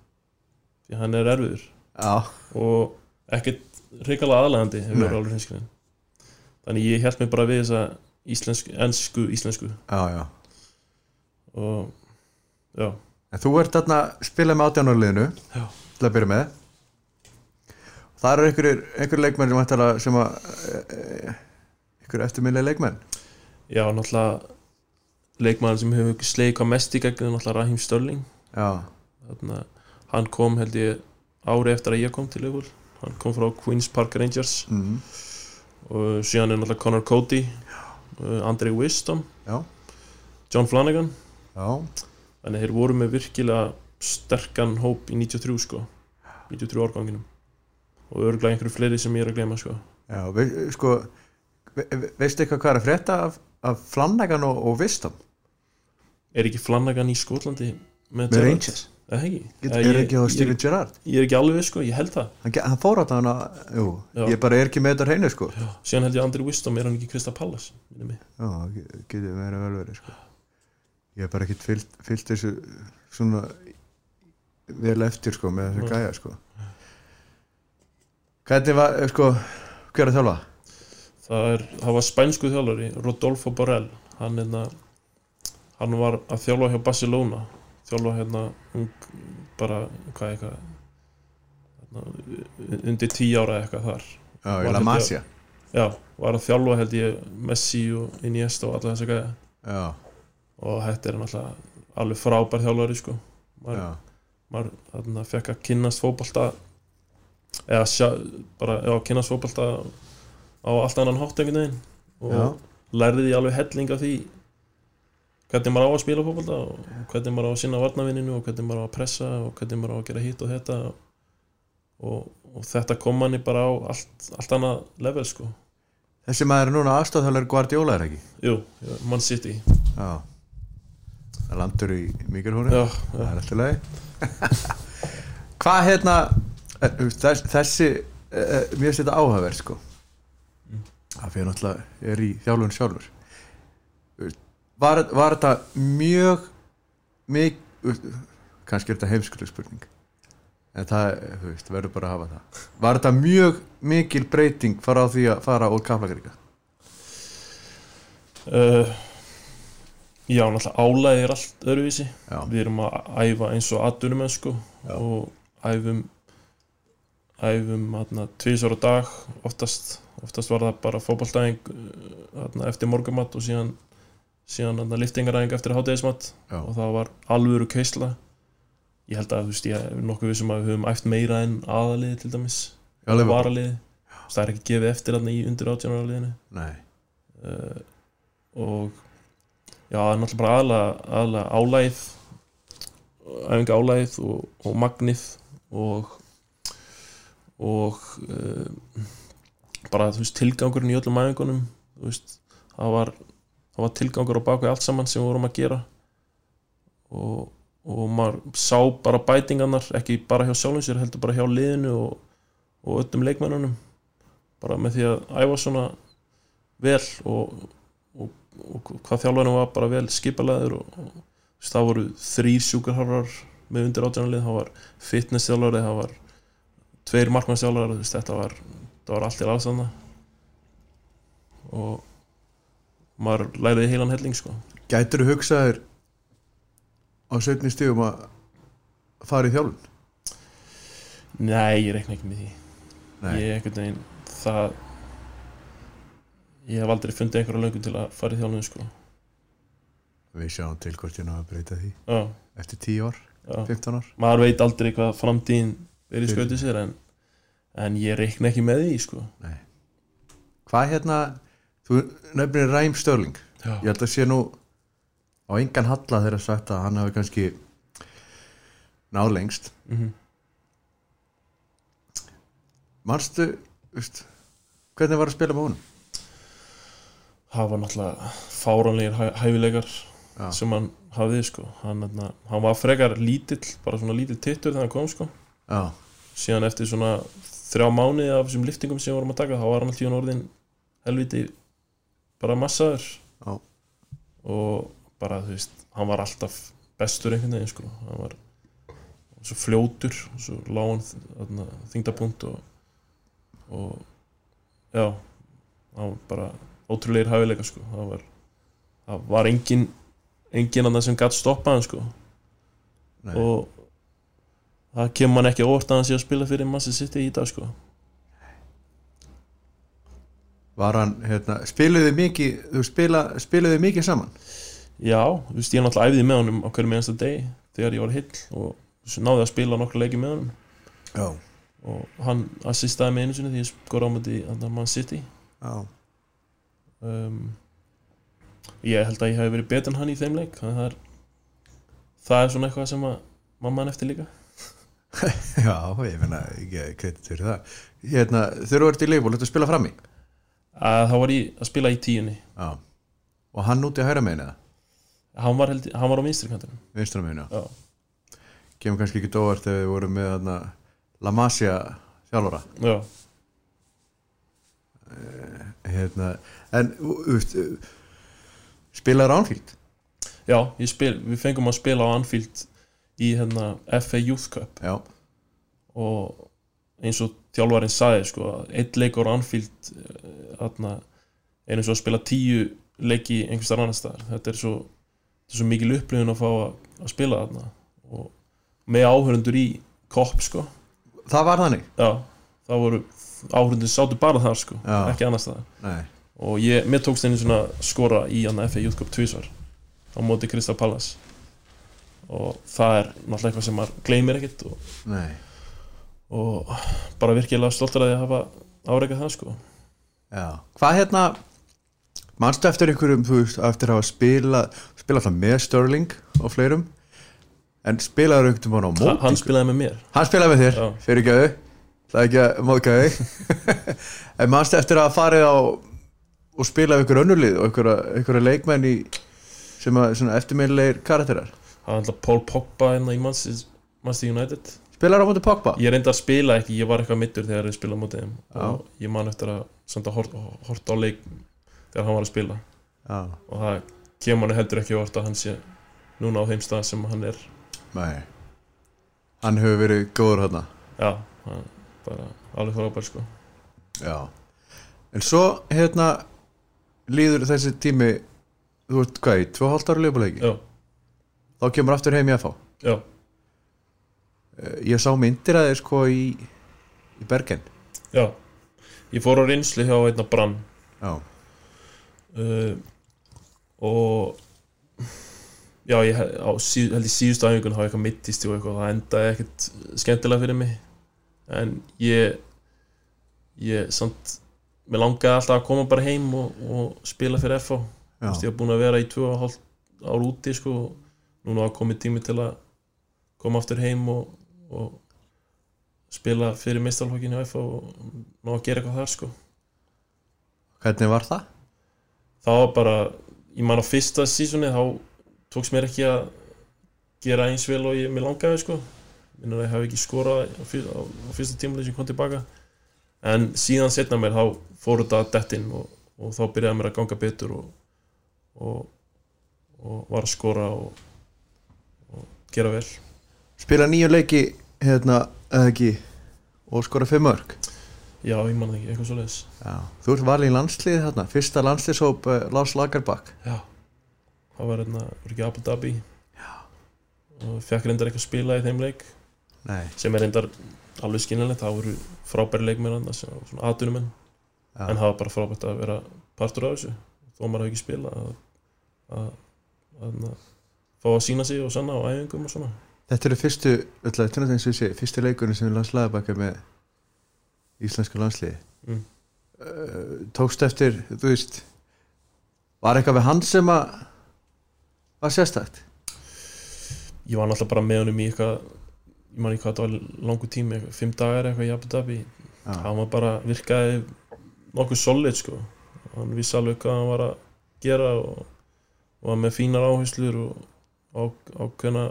S2: því hann er erfiður
S1: Já,
S2: og ekkert hrikalega aðlægandi ef við
S1: Nei.
S2: erum alveg hinskriðin þannig ég held mig bara við þessa íslensku, ensku, íslensku
S1: já, já
S2: og já,
S1: En þú ert þarna að spila með átjánarliðinu
S2: Já.
S1: til að byrja með Það eru einhverjir, einhverjir leikmenn sem ætlar að sem að e- einhverjir eftirminlega leikmenn
S2: já, náttúrulega leikmaður sem hefur slegið hvað mest í gegn er náttúrulega Raheem Störling
S1: Já,
S2: Þarna, hann kom held ég ári eftir að ég kom til Liverpool hann kom frá Queen's Park Rangers
S1: mm.
S2: og síðan er náttúrulega Connor Cody uh, Andre Wisdom,
S1: já,
S2: John Flanagan
S1: já
S2: þannig þeir voru með virkilega sterkan hóp í 93 sko 93 árganginum og örgulega einhverju fleiri sem ég er að gleyma sko
S1: Já, við, sko ve, ve- veistu eitthvað hvað er að frétta af, af Flannagan og, og Vistam
S2: er ekki Flanagan í Skotlandi með
S1: með
S2: Gerrard?
S1: Rangers
S2: Eða ekki?
S1: Get,
S2: Eða
S1: er
S2: ég-
S1: ekki á
S2: ég-
S1: Steven Gerrard
S2: ég er ekki alveg viss, sko, ég held það
S1: hann, ge- hann fór á þann að jú,
S2: Já.
S1: ég bara er ekki með þetta á hreinu sko já,
S2: síðan held ég Andri Wisdom er hann ekki Krista Pallas minnum mig
S1: ge- getur verið vel verið sko ég er bara ekkit fyllt, fyllt þessu svona vel eftir sko með þessu
S2: Nei.
S1: gæja sko hvernig var eh, sko hver er að þjálfa?
S2: það, er, það var spænsku hérna, þjálfari Rodolfo Borrell hann, einna, hann var að þjálfa hjá Barcelona þjálfa hérna ung, bara, hvað eitthvað hérna, undir tíu ára eða eitthvað þar
S1: Já,
S2: Var
S1: í La
S2: þetta-
S1: Masia
S2: já, var að þjálfa held ég Messi og Iniesta og alla þess að gæja
S1: Já,
S2: og þetta er náttúrulega alveg frábær þjálfari sko maður,
S1: já,
S2: maður þarna fekk að kynnast fótbalta eða sjá, bara, já, kynnast fótbalta á allt annan hátt einhvern veginn og
S1: já
S2: lærði því alveg helling af því hvernig maður á að spila fótbalta og hvernig maður á að sinna varnavinninu og hvernig maður á að pressa og hvernig maður á að gera hitt og þetta og, og þetta kom manni bara á allt, allt annað level sko
S1: Þessi maður er núna aðstofþjálfur Guardiola er ekki
S2: Jú, mann sitt í
S1: Já Það landur í mikrofónu
S2: Já,
S1: Það
S2: já,
S1: er alltaf lagi Hvað hérna eh, þess, Þessi eh, Mér finnst þetta áhæver sko Það fyrir náttúrulega er í þjálfun sjálfur Þú veist, Var, var þetta mjög mik, kannski er þetta heimskuleg spurning en það, þú veist, verður bara að hafa það Var þetta mjög mikil breyting fara á því að fara úr kaflakaríka?
S2: uh, já náttúrulega álæði er allt öðruvísi
S1: Já,
S2: við erum að æfa eins og atvinnum sko,
S1: Já.
S2: og æfum æfum hérna tvísar á dag oftast, oftast var það bara fótballtæðing hérna, eftir morgumat og síðan síðan hérna, liftingaræðing eftir hátæðismat
S1: já,
S2: og það var alvöru keisla ég held að þú veist ég er nokkuð vissum að við höfum æft meira en aðaliði til dæmis
S1: já
S2: varaliði, Þú veist, það er ekki gefið eftir hérna, í undir átjánaraliðinu
S1: Nei,
S2: uh, og já, það er náttúrulega bara aðalega, aðalega álæð æfinga álæð og, og magnið og og uh, bara þú veist tilgangurinn í öllum æfingunum þú veist, það var það var tilgangur á bakvið allt saman sem við vorum að gera og, og maður sá bara bætingarnar ekki bara hjá sjálfum sér, heldur bara hjá liðinu og, og öllum leikmennunum bara með því að æfa svona vel og, og, og hvað þjálfanum var bara vel skipalaður og, og þú veist, það voru þrýr sjúkarhárar með undir átjánalið, það var fitness þjálfari, það var tveir markmannstjálfari, þú veist, þetta var það var allt til aðstanda og maður læriði heilan helling sko
S1: Gætur þú hugsaðir á setni stífum að fara í þjálfun?
S2: Nei, ég reikna ekki með því
S1: Nei,
S2: ég einhvern veginn það ég hef aldrei fundið einhverja löngu til að fara í þjálfum sko
S1: við sjáum til hvort ég ná að breyta því
S2: já,
S1: eftir 10 ár,
S2: já.
S1: 15 ár
S2: maður veit aldrei hvað framtíðin er í
S1: Fyrir.
S2: skauti sér en, en ég reikna ekki með því sko.
S1: Nei. Hvað hérna þú nefnir Ræm Störling ég held að sé nú á engan halla þegar sagt að hann hafi kannski náð lengst
S2: Mhm.
S1: Manstu, veist hvernig var að spila með honum?
S2: það var náttúrulega fáranlegir hæ, hæfilegar
S1: Já.
S2: sem hann hafði sko. hann, hann, hann var frekar lítill bara svona lítill tittur þegar hann kom sko.
S1: Já,
S2: síðan eftir svona þrjá mánuði af þessum liftingum sem við vorum að taka þá var hann alltaf orðin helviti bara massaður
S1: Já.
S2: og bara þú veist hann var alltaf bestur einhvern veginn sko. hann var svo fljótur og svo lágan þarna, þingdapunkt og, og já hann var bara ótrúleir hæfileika sko. það var, það var engin engin annar sem gætt stoppað hann sko
S1: nei,
S2: og það kemur mann ekki á óvart að hann sé að spila fyrir mann sem sitt í dag sko.
S1: var hann hérna, spiluðu mikið þú spila, spiluðu mikið saman?
S2: já, þú veist, ég náttúrulega æfði með honum á hverjum einasta degi þegar ég var hill og svo náði að spila nokkra leiki með honum
S1: Já,
S2: og hann assistaði með einu sinni því ég skor á múti mann sitt í
S1: já
S2: um, ég held að ég hef verið betur en hann í þeim leik þannig að það er, það er svona eitthvað sem að mamma hann eftir líka
S1: Já, ég finna ekki kredit fyrir það hérna, Þegar þú ert í leifból, þetta spila frammi
S2: að þá var ég að spila í tíunni
S1: Já Og hann úti að hæra meina það,
S2: hann var, held, hann var á vinstri kantinum
S1: vinstra meina
S2: já,
S1: Kemur kannski ekki dóvart ef við vorum með hana, La Masia þjálfara
S2: já,
S1: hérna, En þú veist, spilaður ánfíld
S2: já ég spil, við fengum að spila á Anfield í hérna FA Youth Cup
S1: Já,
S2: og eins og þjálfarinn sagði sko, að einn leikur á Anfield eh, þarna, er eins og að spila tíu leiki einhvers þar annars staðar þetta er svo, þetta er svo mikil upplifun að fá að, að spila þarna og með áhörundur í kopp sko
S1: það var þannig
S2: já, þá voru áhörundur sátu bara þar sko,
S1: Já.
S2: ekki annars það
S1: Nei.
S2: og ég, mér tókst einu svona skora í hann FA Youth Cup tvísvar á móti Krista Pallas og það er náttúrulega eitthvað sem maður gleymir ekkert og,
S1: Nei.
S2: og bara virkilega stoltur að ég hafa áreikað það sko
S1: Já. hvað hérna manstu eftir einhverjum þú veist, eftir að hafa spila spila alltaf með Sterling og fleirum en spilaður einhvern veginn á
S2: Ha-
S1: móti
S2: hann spilaði með mér
S1: hann spilaði með þér,
S2: Já.
S1: fyrir gæðu það er ekki að móðka þig en manstu eftir að hafa farið á og spila við ykkur önnurlið og ykkur, ykkur leikmenn í sem að svona eftirminnilegir karakterar
S2: það var alltaf Paul Pogba hérna í Manchester Manchester United
S1: spilar á móti Pogba
S2: ég reyndi að spila ekki, ég var eitthvað mittur þegar ég spilaði á mótið þeim og ég man eftir að senda hort, hort á leik þegar hann var að spila
S1: já,
S2: og það kemur hann heldur ekki vart að hann sé núna á þeim stað sem hann er
S1: nei hann hefur verið góður hérna
S2: já, hann bara alveg frábær sko
S1: Já En svo hérna líður þessi tími þú veist hvað í, tvö hálft ára liðbúleiki
S2: já,
S1: þá kemur aftur heim í FH
S2: já,
S1: Eh, Ég sá myndir að þér sko í í Bergen
S2: já ég fór á reynslu hjá hérna, einna brann
S1: Já,
S2: uh, og já, ég he- á, síð, held í síðustu æfingun hafa eitthvað mittist og eitthvað, það endaði ekkert skemmtilega fyrir mig en ég ég samt mér langaði alltaf að koma bara heim og, og spila fyrir FH Þú veist,
S1: já,
S2: ég var búin að vera í tvö og hálft ár úti sko, og núna var komið tími til að koma aftur heim og, og spila fyrir meistalhokkinu FH og ná að gera eitthvað þar sko
S1: hvernig var það?
S2: það var bara, ég man á fyrsta sísunni þá tókst mér ekki að gera eins vel og ég mér langaði sko minnur að ég hef ekki skorað á, fyr, á, á fyrsta tímuleg sem ég kom tilbaka en síðan setna mér þá fór þetta að dettin og, og þá byrjaði mér að ganga betur og, og, og var að skora og, og gera vel
S1: Spila nýju leiki hérna, eða ekki og skora fimm örg
S2: já, ég man það ekki, eitthvað svoleiðis
S1: Já. Þú ert valið í landslið þarna fyrsta landsliðshóp uh, Lás Lagerbakk
S2: já, það var hérna, voru ekki Abu Dhabi já og fekk reyndar ekki að spila í þeim leik
S1: Nei,
S2: sem er reyndar alveg skynilegt, það voru frábæri leikmenn annars, svona atvinnumenn
S1: Já.
S2: en það var bara frábært að vera partur af þessu þó maður hafi ekki spilað að, að, að, að fá að sína sig og sanna á æfingum og svona
S1: þetta eru fyrstu öll að tjónaðins við sé, fyrstu leikunni sem Lás Lagerbakk er með íslenska landsliði Eh,
S2: mm.
S1: tókst eftir, þú veist var eitthvað við hann sem að var sérstakt
S2: ég var náttúrulega bara með honum í eitthvað ég man ekki hvað þetta var langu tími eitthvað, fimm dagar eitthvað í Abu Dhabi
S1: Já.
S2: hann var bara virkaði nokkuð solid sko hann vissi alveg hvað hann var að gera og, og var með fínar áherslur og á, ákveðna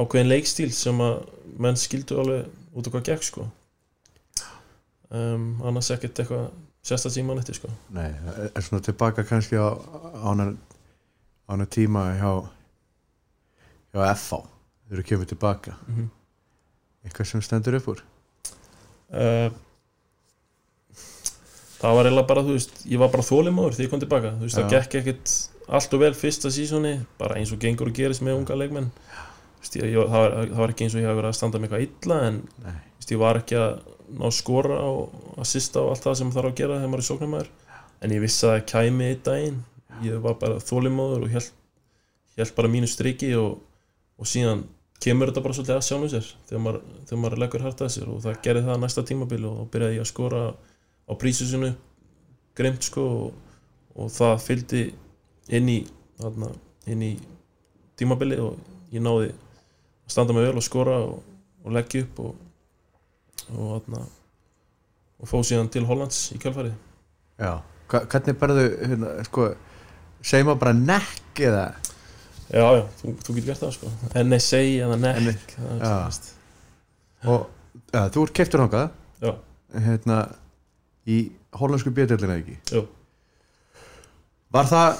S2: ákveðin leikstíl sem að menn skildu alveg út af hvað gekk sko um, annars ekkert eitthvað sérsta tíma netti sko
S1: Nei, það er svona tilbaka kannski á ána, ána tíma hjá hjá FH þau eru kemur tilbaka
S2: mm -hmm.
S1: eitthvað sem stendur upp úr
S2: Eh, það var eiginlega bara, þú veist, ég var bara þólimaður þegar ég kom tilbaka, þú veist, það
S1: Já.
S2: gekk ekkert allt og vel fyrsta sísoni, bara eins og gengur og gerist með unga leikmenn þú veist, ég, ég, það, var, það var ekki eins og ég hafi verið að standa með eitthvað illa en
S1: Nei.
S2: þú veist, ég var ekki að ná að skora og assista og allt það sem þarf að gera þegar maður er sóknumæður en ég vissi að það kæmi í daginn ég var bara þólimaður og held, held bara mínu striki og, og síðan kemur þetta bara svolítið að sjálfum sér þegar maður, þegar maður leggur hart að sér og það gerði það næsta tímabil og þá byrjaði ég að skora á prísusinu grimt sko og, og það fylgdi inn í, þarna, inn í tímabili og ég náði að standa mig vel og skora og, og leggja upp og, og, þarna, og fóð síðan til Hollands í kjálfarið
S1: Já, Hva, hvernig berðu hérna, sko, segjum að bara nekk eða
S2: Já, já, þú, þú getur gert það sko NSA eða NEC það er
S1: já.
S2: sem sagt.
S1: og ja, þú ert keiftur hangað
S2: Já.
S1: hérna í hollensku bjöðdellina ekki
S2: Jú.
S1: Var það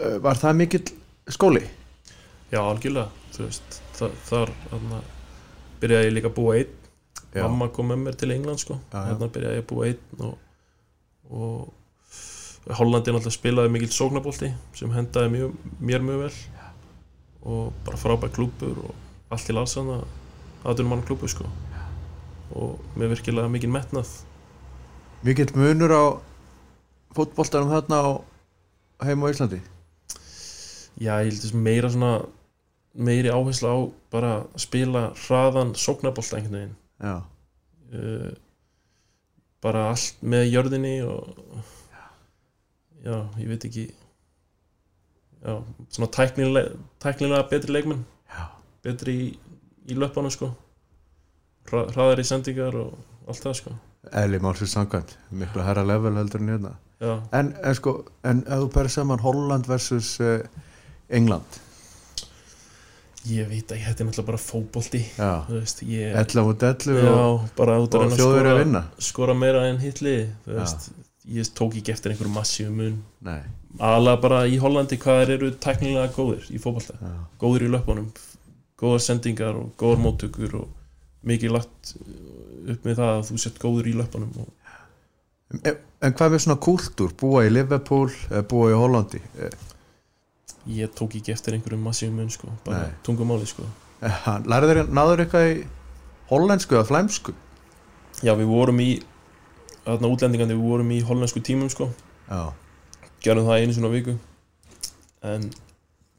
S1: eh, var það mikill skóli?
S2: Já, algjörlega, þú veist þar, þar þarna, byrjaði ég líka að búa einn mamma kom með mér til England sko
S1: Já, já.
S2: hérna byrjaði ég að búa einn og, og Hollandi náttúrulega spilaði mikill sóknabolti sem hendaði mjög, mér mjög vel og bara frábær klúpur og allt til alls hann að aðdunum mann klúpur sko og með virkilega mikinn metnað
S1: Mikill munur á fótboltanum þarna á heima á Íslandi
S2: já, ég heldur meira svona meiri áhersla á bara að spila hraðan sóknarbolt einhvern veginn
S1: Já,
S2: uh, bara allt með jörðinni og já, ég veit ekki já, svona tæknilega, tæknilega betri leikmenn
S1: já,
S2: betri í, í löpana sko Hra, hraðar í sendingar og allt það sko
S1: eðli málsins samkvæmt miklu herra level heldur en hérna
S2: já,
S1: En, en sko, en ef þú berð saman Holland versus uh, England
S2: ég veit ekki, þetta er náttúrulega bara fótbolti
S1: Já,
S2: þú veist, ég
S1: 11 og 11
S2: já,
S1: og,
S2: bara út að
S1: og
S2: reyna að
S1: þjóður að
S2: skora,
S1: vinna
S2: skora meira en hitli þú
S1: Já.
S2: veist, ég tók ekki eftir einhverjum massíum mun
S1: Nei,
S2: aðalega bara í Hollandi hvað þeir eru tæknilega góðir í fótbolta
S1: já,
S2: góður í löpunum góðar sendingar og góðar móttökur og mikið lagt eh, upp með það að þú sett góður í löpunum og
S1: En, en hvað með svona kúltúr, búa í Liverpool eða búa í Hollandi Eh,
S2: ég tók ekki eftir einhverjum massíum mun sko, bara
S1: Nei.
S2: tungumáli sko.
S1: eh, lærðir, náður eitthvað í hollensku eða flæmsku
S2: já við vorum í þarna útlendingandi við vorum í hollensku tímum sko,
S1: já,
S2: gerum það einu svona viku en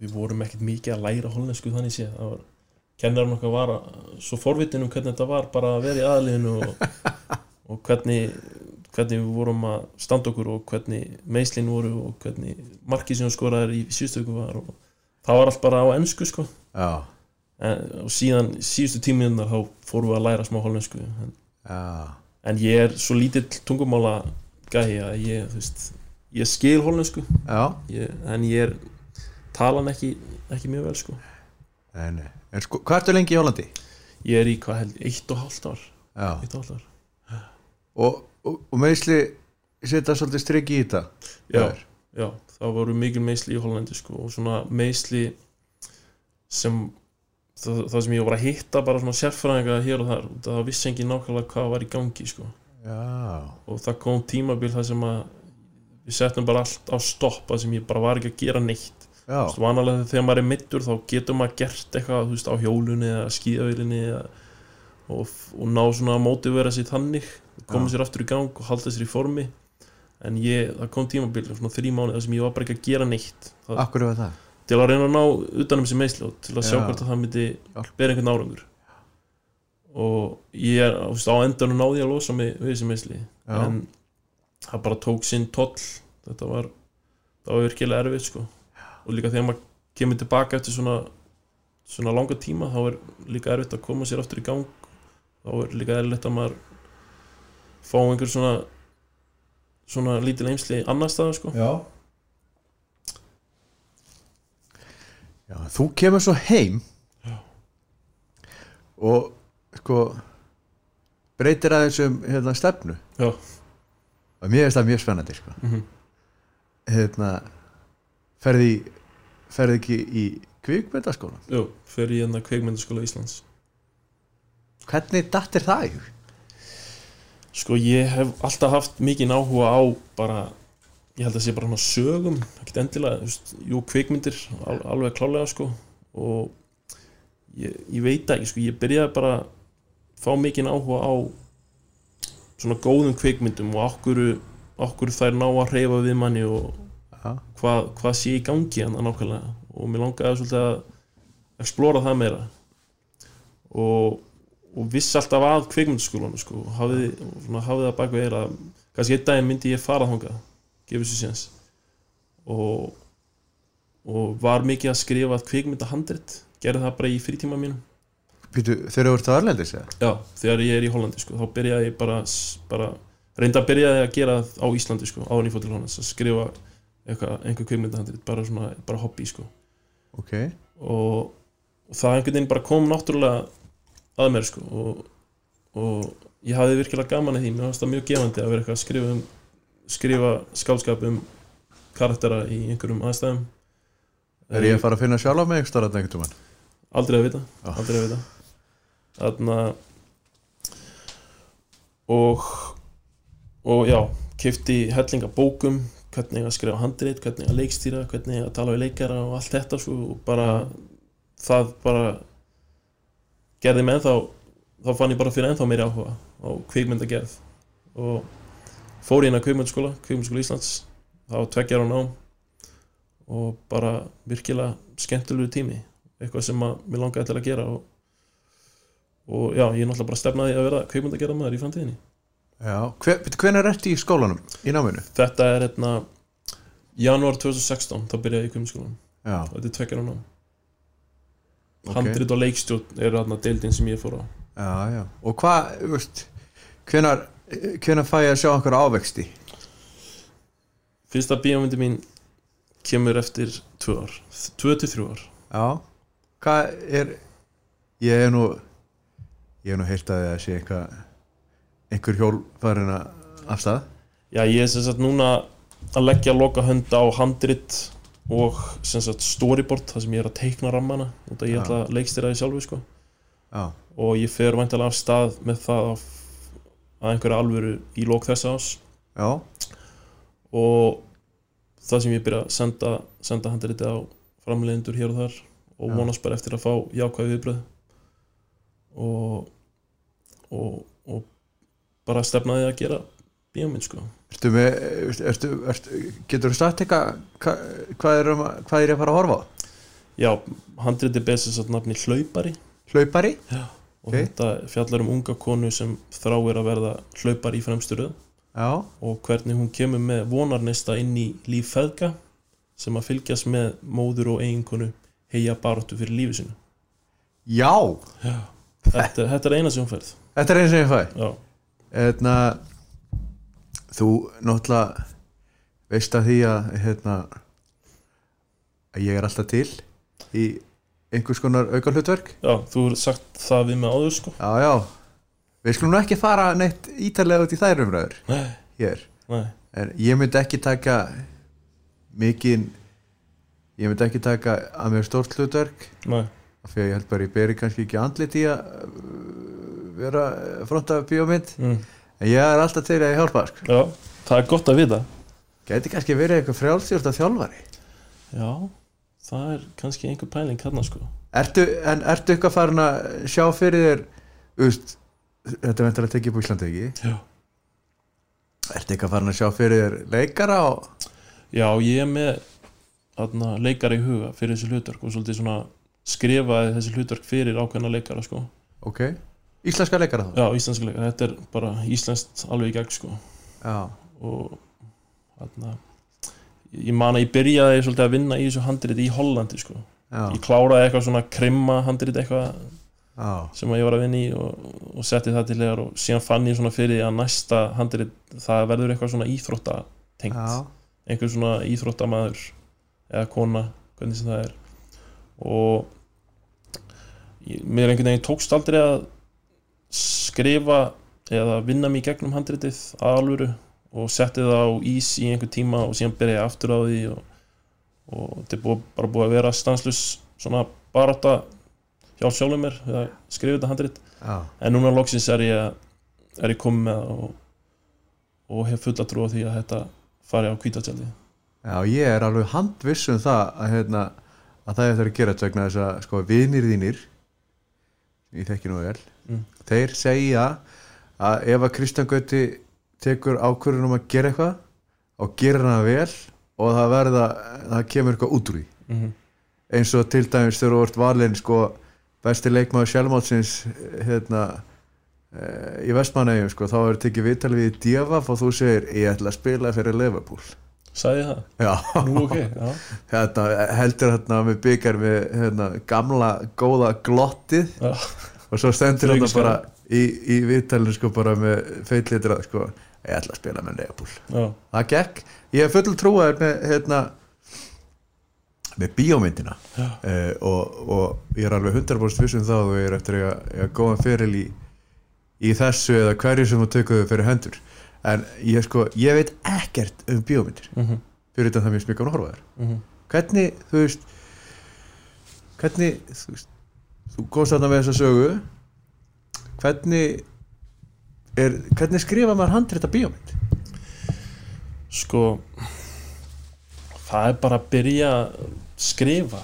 S2: við vorum ekkert mikið að læra hollensku þannig sé það var kennarinn okkar var að- svo forvitin um hvernig þetta var bara að vera í aðliðinu og, og hvernig hvernig við vorum að standa okkur og hvernig meislin voru og hvernig markið sem skoraður í síðustöku var og það var allt bara á ennsku sko
S1: já,
S2: en, og síðan síðustu tímiðunar þá fórum við að læra smá hollensku en,
S1: já
S2: en ég er svo lítill tungumála gæi að ég, þú veist ég skil hollensku
S1: já,
S2: ég, en ég er talan ekki, ekki mjög vel sko
S1: nei, nei en sko, hvað ertu lengi í Hollandi?
S2: ég er í hvað held, eitt og hálft ár
S1: já,
S2: eitt og hálft ár
S1: og, og, og meðsli setja svolítið strikki í þetta
S2: já, já, það voru mikil meisli í Hollandi sko og svona meisli sem það, það sem ég var að hitta bara svona sérfræðinga hér og þar og það vissi engin nákvæmlega hvað var í gangi sko
S1: já,
S2: og það kom tímabil það sem að við settum bara allt á stoppa sem ég bara var ekki að gera neitt
S1: já,
S2: Þú veist, vanalega þegar maður er mittur þá getur maður gert eitthvað, þú veist, á hjólunni eða skíðavílinni eða, og, og ná svona að mótivera sér þannig koma
S1: Já.
S2: sér aftur í gang og halda sér í formi en ég, það kom tímabil svona þrý mánuð þar sem ég var bara ekki að gera neitt það,
S1: akkur var það
S2: til að reyna að ná utanum sér meðsli og til að sjá
S1: Já.
S2: hvort að það myndi
S1: Hjálp.
S2: bera einhvern árangur og ég er, þú veist, á endanum náði ég að losa mig við þessi meðsli
S1: já,
S2: en það bara tók sinn toll þetta var, það var virkilega erfitt sko. og líka þegar maður kemur tilbaka eftir svona, svona langa tíma þá er líka erfitt að koma sér aftur í gang þá er líka erfitt að maður fá einhver svona svona lítil heimsli annars staðar sko.
S1: já já, þú kemur svo heim
S2: Já.
S1: og sko breytir aðeins um hérna stefnu
S2: Já.
S1: og mér finnst það mjög spennandi sko
S2: mm -hmm.
S1: hérna ferði ferði ekki í kvikmyndaskólan
S2: Jú, fer í hérna kveikmyndaskóla Íslands
S1: hvernig dattir það í hug?
S2: Sko ég hef alltaf haft mikið áhuga á bara, ég held að sé bara svona sögum, ekkert endilega, þú veist, jú kvikmyndir al, alveg klálega sko og ég, ég veit það ekki sko, ég byrjaði bara að fá mikið áhuga á svona góðum kvikmyndum og okkur, okkur þær ná að hreyfa við manni og
S1: Já.
S2: hvað, hvað sé í gangi hann nákvæmlega og mér langaði svolítið að explora það meira og, og vissi alltaf að kvikmyndaskólanum sko, og hafði, og svona, hafði það bak við eyrað að kannski einn daginn myndi ég fara þangað gefið sér séns og, og var mikið að skrifa kvikmyndahandrit gerði það bara í frítíma mínum
S1: Pítu, þegar þú ert að Arlendis eða?
S2: Já, þegar ég er í Hollandi sko, þá byrjaði ég bara, bara reynda að byrjaði að gera það á Íslandi sko, áður en ég fór til Hollands að skrifa eitthvað, einhver kveikmyndahandrit, bara svona, bara hobby sko
S1: ok,
S2: og, og það einhvern veginn bara kom náttúrulega að mér sko og, og ég hafði virkilega gaman að því, mér fannst það mjög gefandi að vera eitthvað að skrifa, um, skrifa skálskap um karaktera í einhverjum aðstæðum
S1: er ég að fara að finna sjálf á mig einhvers staðar þarna einhvern tímann?
S2: Aldrei að vita
S1: Já.
S2: Aldrei að vita Þarna Og Og já, kefti helling af bókum Hvernig að skrifa handrið, hvernig að leikstýra Hvernig að tala við leikara og allt þetta svo, Og bara það bara gerði mig ennþá þá fann ég bara fyrir ennþá meiri áhuga á kvikmyndagerð og fór ég inn að kvikmyndaskóla, kvikmyndaskóla Íslands það var tveggjar á nám og bara virkilega skemmtilegu tími, eitthvað sem að mér langaði til að gera og, og já, ég náttúrulega bara stefnaði að vera kvikmyndagerðamaður í framtíðinni
S1: Já, hver, hvernig ertu í skólanum? Í náminu?
S2: Þetta er hérna janúar 2016, þá byrjaði ég í kvikmyndaskólan
S1: Já,
S2: og þetta er tveggjar á nám
S1: Ok.
S2: Handrit og leikstjórn eru þarna deildin sem ég fór á
S1: já, já Og hvað, þú veist hvenar, hvenar fæ ég að sjá einhverja ávexti?
S2: Fyrsta bíómyndi mín kemur eftir tvö ár, tvö til þrjú ár
S1: Já, hvað er ég hef nú ég hef nú heyrt að það sé eitthvað einhver hjól farin að af stað
S2: Já, ég er sem sagt núna að leggja loka hönd á handrit og sem sagt storyboard, það sem ég er að teikna rammana út að ég
S1: Já.
S2: ætla að leikstýra því sjálfu sko
S1: Já,
S2: og ég fer væntalega af stað með það að, að einhverja alvöru í lok þessa ás
S1: já,
S2: og það sem ég byrja að senda, senda handritið á framleiðendur hér og þar og
S1: Já.
S2: vonast bara eftir að fá jákvæði viðbröð og, og, og bara stefnaði að gera bíómynd sko.
S1: ertu með ertu, ertu, getur þú sagt eitthvað hva, hvað, er um, að- hvað er ég að fara að horfa á?
S2: Já, handritið besið satt nafni Hlaupari
S1: Hlaupari?
S2: og
S1: Ok.
S2: þetta fjallar um unga konu sem þráir að verða hlaupari í fremstu röð
S1: Já,
S2: og hvernig hún kemur með vonarnesta inn í líf feðga sem að fylgjast með móður og eiginkonu heia baróttu fyrir lífi sinu
S1: já
S2: þetta, þetta er eina sem hún færð
S1: þetta er eins og ég fæ
S2: Já,
S1: hérna, þú náttúrulega veist að því að hérna, að ég er alltaf til í einhvers konar auka hlutverk
S2: já þú hefur sagt það við með áður sko
S1: Já, já, við skulum nú ekki fara neitt ítalega út í þær umræður
S2: Nei,
S1: hér,
S2: nei,
S1: en ég myndi ekki taka mikinn ég myndi ekki taka að mér stórt hlutverk
S2: nei,
S1: af því að ég held bara ég beri kannski ekki andlit í að uh, vera uh, fronta bíómynd,
S2: mm.
S1: en ég er alltaf til að ég hjálpa sko.
S2: já, það er gott að vita
S1: Gæti kannski verið eitthvað frjálsjórt að þjálfari
S2: Já, það er kannski einhver pæling hérna sko
S1: Ertu, en ertu eitthvað farin að sjá fyrir þér úst, þetta er vendilega tekið upp á Íslandi ekki
S2: Já
S1: Ertu eitthvað farin að sjá fyrir þér leikara og
S2: Já, ég er með þarna, leikara í huga fyrir þessi hlutverk og svolítið svona skrifaði þessi hlutverk fyrir ákveðna leikara sko
S1: Ok, íslenska leikara þá?
S2: Já, íslenska leikara, þetta er bara íslenskt alveg í gegn sko
S1: Já,
S2: og þarna ég man að ég byrjaði svolítið að vinna í þessu handriti í Hollandi sko
S1: já,
S2: ég kláraði eitthvað svona krimma handriti eitthvað
S1: já,
S2: sem að ég var að vinna í og, og setti það til legar og síðan fann ég svona fyrir því að næsta handrið það verður eitthvað svona íþrótta tengt,
S1: já,
S2: einhver svona íþróttamaður eða kona, hvernig sem það er og ég, mér einhvern veginn tókst aldrei að skrifa eða vinna mig í gegnum handritið að alvöru og setti það á ís í einhver tíma og síðan byrjaði ég aftur á því og, og þetta er búið, bara búið að vera stanslus svona barátta hjá sjálfum mér við að skrifa þetta handrit
S1: já,
S2: en núna loksins er ég, er ég komið með það og, og hef fulla trú á því að þetta fari á kvítatjaldi
S1: já, ég er alveg handviss um það að, hérna, að það eftir að gera þetta vegna þess að sko vinir þínir ég þekki nú vel
S2: Mm.
S1: þeir segja að ef að Kristján Gauti tekur ákvörðun um að gera eitthvað og gera hana vel og það verða, það kemur eitthvað út úr því
S2: mm
S1: eins og til dæmis þegar þú vart valinn sko besti leikmaður sjálfmálsins hérna eh, í vestmannegjum sko, þá er tekið viðtal við Djafaf og þú segir ég ætla að spila fyrir Liverpool
S2: sagði ég það?
S1: já,
S2: Nú ok, já,
S1: hérna, heldur hérna með byggar með hérna, gamla góða glottið
S2: já.
S1: og svo stendur
S2: Þrjú
S1: þetta bara í, í viðtalinu sko bara með feillitra sko, ég ætla að spila með Liverpool
S2: já.
S1: það gekk, ég er full trúaður með hérna með bíómyndina
S2: Já.
S1: uh, og, og ég er alveg 100% viss um það og ég er eftir að eiga- eiga góðan feril í, í þessu eða hverju sem þú tökur þau fyrir hendur en ég sko, ég veit ekkert um bíómyndir
S2: Mm -hmm.
S1: fyrir þetta það mér smikkan að horfa á þær
S2: mhm.
S1: hvernig, þú veist hvernig, þú veist þú góðst þarna með þessa sögu hvernig er, hvernig skrifa maður handrita bíómynd?
S2: sko það er bara að byrja að skrifa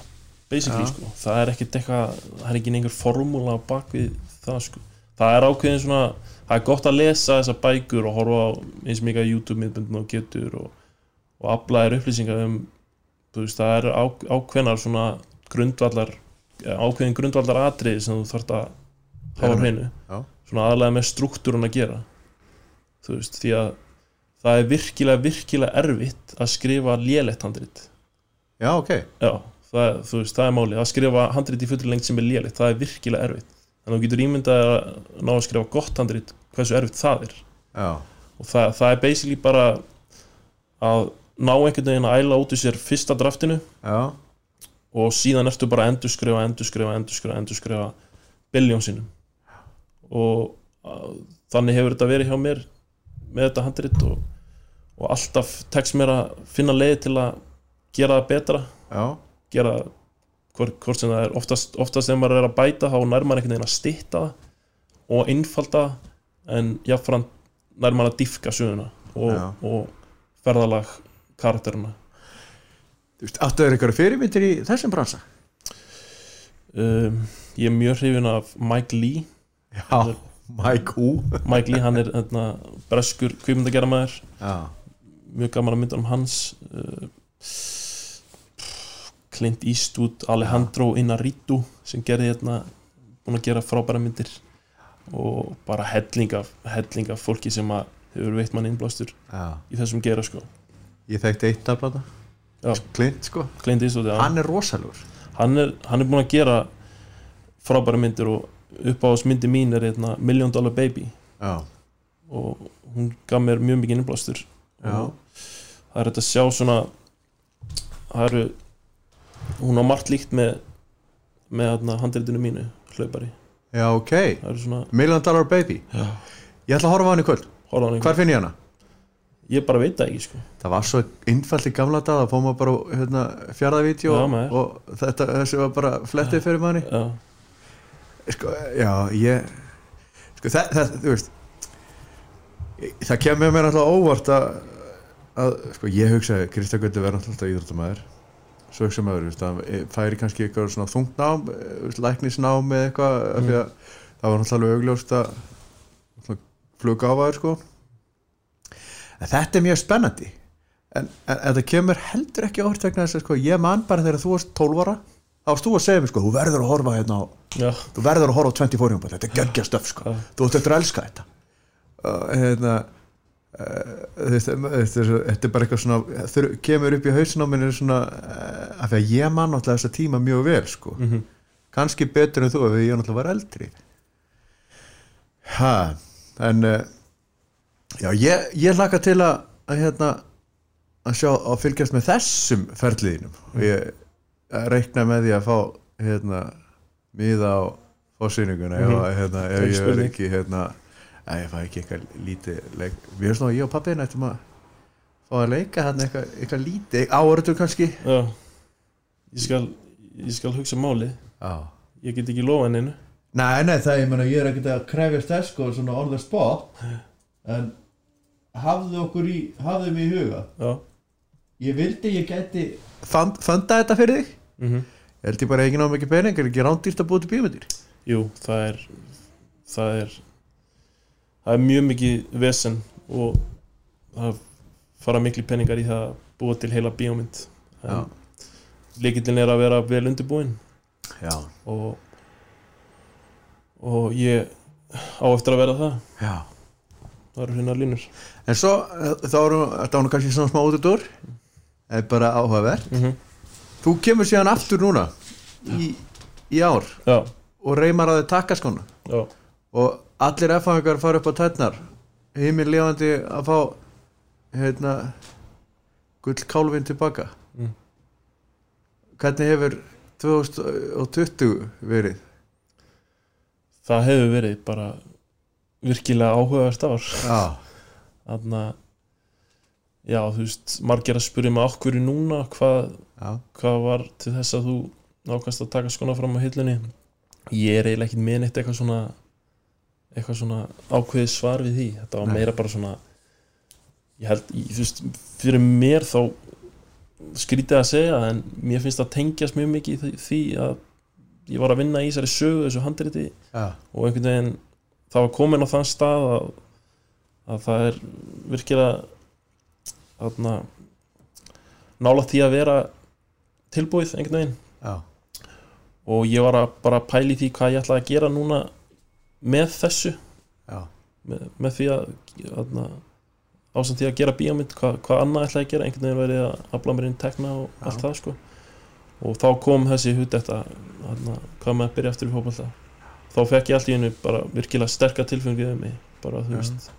S2: basically
S1: Já.
S2: sko, það er ekkert eitthvað það er ekki einhver formúla á bakvið það sko, það er ákveðin svona það er gott að lesa þessar bækur og horfa á eins mikið að YouTube myndbundin og getur og, og afla þér upplýsingar um, þú veist, það er á, ákveðnar svona grundvallar eh, ákveðin grundvallar atriði sem þú þarft að hafa á
S1: Já.
S2: hreinu
S1: Já.
S2: svona aðalega með struktúrun að gera þú veist, því að það er virkilega, virkilega erfitt að skrifa lélegt handrit
S1: já, ok,
S2: Já, það, er- þú veist, það er málið að skrifa handrit í fullri lengd sem er lélitt, það er virkilega erfitt þannig að þú getur ímyndað þér að ná að skrifa gott handrit, hversu erfitt það er
S1: já,
S2: og það, það er basically bara að ná einhvern veginn að æla út úr sér fyrsta draftinu
S1: já
S2: og síðan ertu bara að endurskrifa, endurskrifa, endurskrifa, endurskrifa biljón sinnum og að, þannig hefur þetta verið hjá mér með þetta handrit og, og alltaf tekst mér að finna leiði til að gera það betra
S1: já,
S2: gera hvort, hvort sem það er oftast, oftast þegar maður er að bæta þá nær maður einhvern veginn að stytta það og einfalda það, en jafnfram nær maður að diffka söguna
S1: Já.
S2: og, og ferðalag karakterina
S1: þú veist, áttu þér eitthvað fyrirmyndir í þessum bransa
S2: um, ég er mjög hrifin af Mike Lee
S1: já, Mike Ú
S2: Mike Lee hann er hérna, breskur kvikmyndagerðamæður
S1: já,
S2: mjög gaman að mynda um hans uh, Clint Eastwood Alejandro Inarritu sem gerði hérna búin að gera frábæra myndir og bara helling af, helling af fólki sem að hefur veitt mann innblástur
S1: já,
S2: í þessum gera sko
S1: ég þekkti eitt af blata
S2: Já.
S1: Clint, sko,
S2: Clint Eastwood, já, hann,
S1: hann er rosalur
S2: er, hann er búin að gera frábæra myndir og uppáðsmyndi mín er hérna Million Dollar Baby
S1: já,
S2: og hún gaf mér mjög mikið innblástur
S1: Já.
S2: og það er þetta að sjá svona það eru hún á margt líkt með með hérna handreitinu mínu hlaupari
S1: já, ok
S2: það eru svona
S1: Million Dollar Baby
S2: Já.
S1: ég ætla að horfa á hann í kvöld,
S2: horfðan einhver
S1: hvar finn ég hana?
S2: ég bara veit það ekki sko
S1: Það var svo innfallt í gamla dag að fóð maður bara á, hérna, fjaraðavídeó
S2: Já, maður.
S1: og þetta, þessi var bara flettið fyrir manni
S2: já,
S1: sko, Já, ég sko, það, það, þú veist ég- það kemur mér alltaf óvart að, að sko, ég hugsaði Kristján Guði verður alltaf íþróttamæður svo hugsaði maður, þú veist, að færi kannski eitthvað svona þungnám, eh, þú veist, læknisnám eða eitthvað, af því að það var alltaf alveg augljóst að flugáfaður, sko en þetta er mjög spennandi en, en, en það kemur heldur ekki óvart vegna þess að sko, ég man bara þegar þú varst 12 ára þá varst þú að segja mér sko, þú verður að horfa hérna á
S2: já,
S1: þú verður að horfa á 24 júmbað, þetta er geggja stöf sko.
S2: Já.
S1: þú ert eftir að elska þetta uh, hérna uh, þetta, þetta, er, svo- þetta er bara eitthvað svona þur, kemur upp í hausin á minni svona, uh, af því að ég man náttúrulega þessa tíma mjög vel sko. kannski betur en þú ef ég náttúrulega var eldri ha, en uh, já, ég, ég laka til að, að hérna að sjá að fylgjast með þessum ferliðinum og ég reikna með því að fá hérna miða á fórsýninguna ef, að, hérna, ef ég
S2: Ekki
S1: verð
S2: spurning.
S1: ekki hérna að ég fæ ekki eitthvað lítið leik. við erum svona ég og pappiðin ættum að fá að leika hérna eitthvað, eitthvað lítið áörður kannski
S2: já ég skal, ég skal hugsa máli
S1: Já.
S2: ég get ekki lofa henni
S1: Nei, nei, það ég meina ég er ekkert að krefjast þess sko svona on the spot en hafðu okkur í hafðu mig í huga
S2: já,
S1: ég vildi ég gæti fönda þetta fyrir þig
S2: mhm
S1: Ég held ég bara ekki ná mikið pening er ekki rándýrt að búa til bíómyndir
S2: Jú, það er það er það er mjög mikið vesen og það fara miklu peningar í það að búa til heila bíómynd
S1: Já.
S2: Líkillin er að vera vel undirbúin
S1: já,
S2: og og ég á eftir að vera það
S1: já
S2: það eru hérna línur
S1: en svo eh, þá erum þetta var nú kannski svona smá útudur er bara áhugavert
S2: mm
S1: þú kemur síðan aftur núna í, í ár
S2: Já,
S1: og reymar að þið takkaskona
S2: já,
S1: og allir F-hangar fara upp á tætnar heimil lifandi að fá hérna gullkálfin tilbaka
S2: Mm.
S1: hvernig hefur 2020 verið
S2: það hefur verið bara virkilega áhugavert ár
S1: já,
S2: þannig að já, þú veist, margir að spyrja mig okkur í núna, hvað
S1: já,
S2: hvað var til þess að þú nákvæmst að taka skona fram á hillunni ég er eiginlega ekkert með neitt eitthvað svona eitthvað svona ákveðið svar við því þetta var
S1: Nei.
S2: meira bara svona ég held, ég, þú veist, fyrir mér þá skrítið að segja en mér finnst það tengjast mjög mikið í því- því að ég var að vinna í þessari sögu þessu handriti
S1: Já,
S2: og einhvern veginn það var komin á þann stað að, að það er virkilega þarna nála því að vera tilbúið einhvern veginn
S1: já,
S2: og ég var að bara pæli því hvað ég ætlaði að gera núna með þessu
S1: já,
S2: með, með því að þarna, ásamt því að gera bíómynd hvað, hvað annað ætlaði að gera, einhvern veginn verið að afla mér inn tekna og
S1: Já.
S2: allt það sko og þá kom þessi hut þetta þarna, hvað með að byrja aftur í fótbolta þá fekk ég allt í hennu bara virkilega sterka tilfengið um mig, bara þú
S1: Já.
S2: veist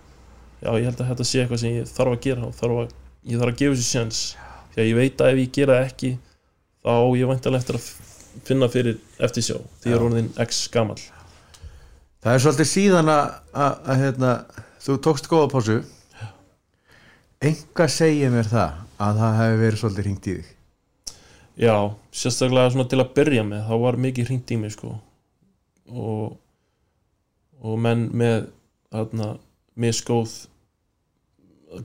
S2: já, ég held að þetta sé eitthvað sem ég þarf að gera og þarf að, ég þarf að gefa þessu sjans því að ég veit að ef ég gera það ekki þá á ég væntalega eftir að finna fyrir eftir sjó, því ég
S1: Já.
S2: er orðin x gamall
S1: Það er svolítið síðan að, að, að hérna, þú tókst góða pásu enga segja mér það að það hefði verið svolítið hringt í þig
S2: Já, sérstaklega svona til að byrja með þá var mikið hringt í mig sko og, og menn með þarna, misgóð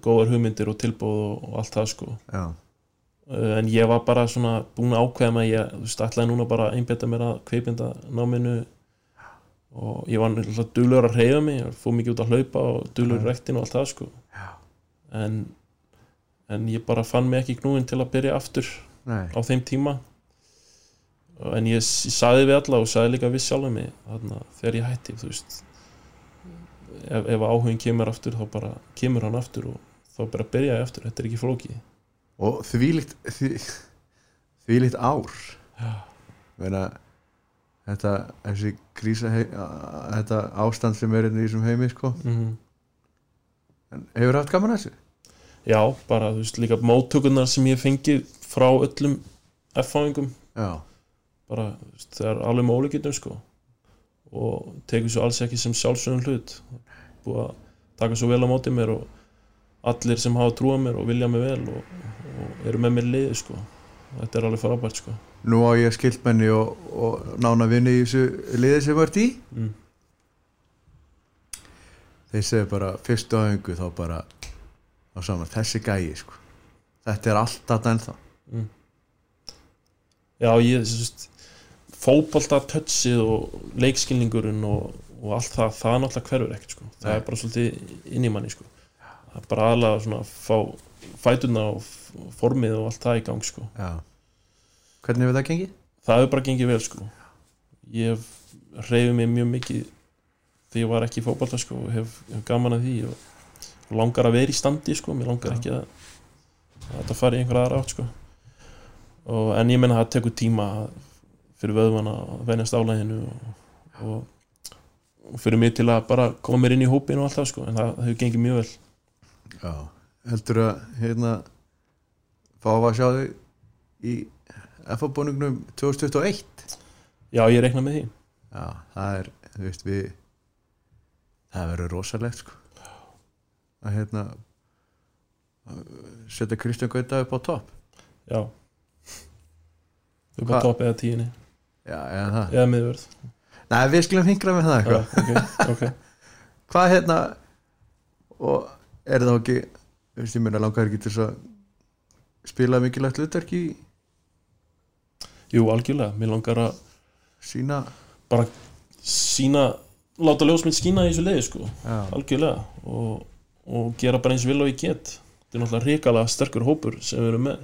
S2: góðar hugmyndir og tilbóð og, og allt það sko
S1: Já,
S2: Eh, en ég var bara svona búin að ákveða með ég, þú veist, ætlaði núna bara að einbetta mér að kveipinda náminu og ég var náttúrulega duglur að reyða mig og fór mikið út að hlaupa og
S1: Já.
S2: duglur í rektin og allt það sko
S1: Já.
S2: en, en ég bara fann mig ekki knúin til að byrja aftur
S1: nei,
S2: á þeim tíma en ég, s- ég saði við alla og saði líka við sjálfum mig þarna, þegar ég hætti þú veist ef, ef áhugin kemur aftur þá bara kemur hann aftur og þá bara byrja ég aftur, þetta er ekki flókið
S1: og þvílíkt því, þvílíkt ár
S2: Já.
S1: Meina, þetta, þessi krísa hei, að, þetta ástand sem er hérna í þessum heimi sko.
S2: mm
S1: en hefur haft gaman að þessu?
S2: já, bara þú veist líka móttökunar sem ég hef fengið frá öllum F-fáingum
S1: Já,
S2: bara þú veist, það er alveg með ólíkjöndum sko og tekur svo alls ekki sem sjálfsögum hlut búið að taka svo vel á móti mér og allir sem hafa trúa mér og vilja mér vel og, og eru með mér í liði sko þetta er alveg frábært sko
S1: nú á ég skiltmenni og, og nána vinni í þessu liði sem vart í
S2: mm.
S1: þeir segja bara fyrstu áhengu þá bara á saman þessi gæi sko þetta er alltaf ennþá
S2: já ég þú veist fótbolta tötsið og leikskilningurinn og, og allt það, það náttúrulega hverfur ekkert sko það
S1: Nei.
S2: er bara svolítið inn í manni sko það er bara aðlega svona að fá fætuna og f- og formið og allt það í gang sko
S1: já. hvernig hefur það gengið?
S2: það hefur bara gengið vel sko ég hef reyfið mig mjög mikið þegar ég var ekki í fótbolta sko og hef, hef gaman að því og, og langar að vera í standi sko mér langar
S1: Já.
S2: ekki að, að þetta fari í einhverja aðra átt sko og, en ég menna það tekur tíma fyrir vöðvana að venjast álæginu og, og, og fyrir mig til að bara koma mér inn í hópin og allt það sko en það, það hefur gengið mjög vel
S1: já, heldur að hérna fá að sjá þau í FA-bóningnum 2021
S2: já ég reikna með því
S1: já, það er, þú veist við það verður rosalegt sko að hérna að setja Kristján Gauta upp á topp
S2: já upp á
S1: Hvað?
S2: topp eða tíunni
S1: já, eða það
S2: eða miðvörð
S1: Nei, við skulum hingra með það eitthvað
S2: Já, ok, ok
S1: hvað hérna og er það ekki þú veist ég meina langar ekki til þess að spila mikilvægt hlutverk í
S2: Jú, algjörlega, mér langar að
S1: sína
S2: bara sína, láta ljósmynd skína í þessu leiði sko,
S1: já,
S2: algjörlega og, og gera bara eins vel og ég get þetta er náttúrulega ríkalega sterkur hópur sem við erum með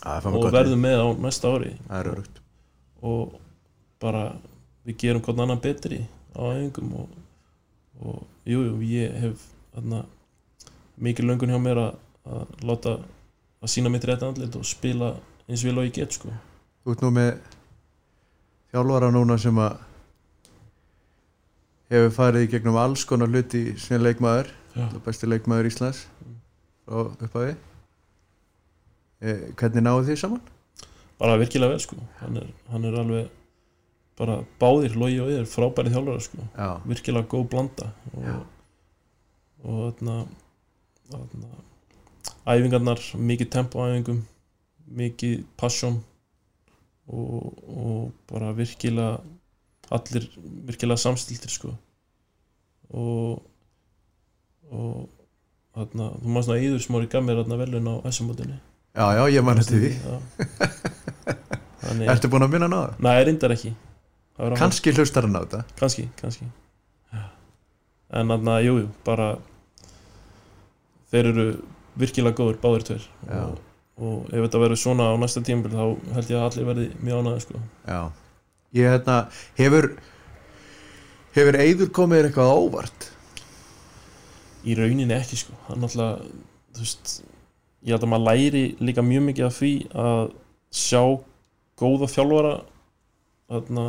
S1: það er fannig
S2: og
S1: gott verðum.
S2: verðum með á næsta ári
S1: það er örugt
S2: og bara við gerum hvort annan betri á æfingum og, og jú, jú, ég hef þarna, mikil löngun hjá mér að, að láta að sína mitt rétt andlit og spila eins vel og ég get sko
S1: þú ert nú með þjálfara núna sem að hefur farið í gegnum alls konar hluti sem leikmaður
S2: Já.
S1: þú besti leikmaður Íslands og upphafi eh, hvernig náðu þið saman?
S2: bara virkilega vel sko hann er, hann er alveg bara báðir, logi og yður, frábæri þjálfara sko
S1: já,
S2: virkilega góð blanda
S1: Já.
S2: og, og þarna, þarna æfingarnar, mikið tempo á æfingum mikið passion og, og bara virkilega allir virkilega samstiltir sko og og þarna, þú maður svona íður smári gaf mér þarna velun á S-mótinu
S1: já, já, ég man eftir því
S2: Já. Þannig,
S1: Ertu búin að minna hann á það?
S2: Nei, reyndar ekki Það var annað.
S1: Kanski hlustar hann á þetta
S2: kannski, kannski. Já. En þarna, jú, jú, bara Þeir eru virkilega góður, báðir tveir
S1: Já.
S2: og, og ef þetta verður svona á næsta tímabil þá held ég að allir verði mjög ánægði sko.
S1: Já Ég hérna, hefur Hefur Eyður komið þér eitthvað á óvart?
S2: Í rauninni ekki sko. Hann alltaf, þú veist Ég held að maður læri líka mjög mikið af því að sjá góða þjálfara þarna,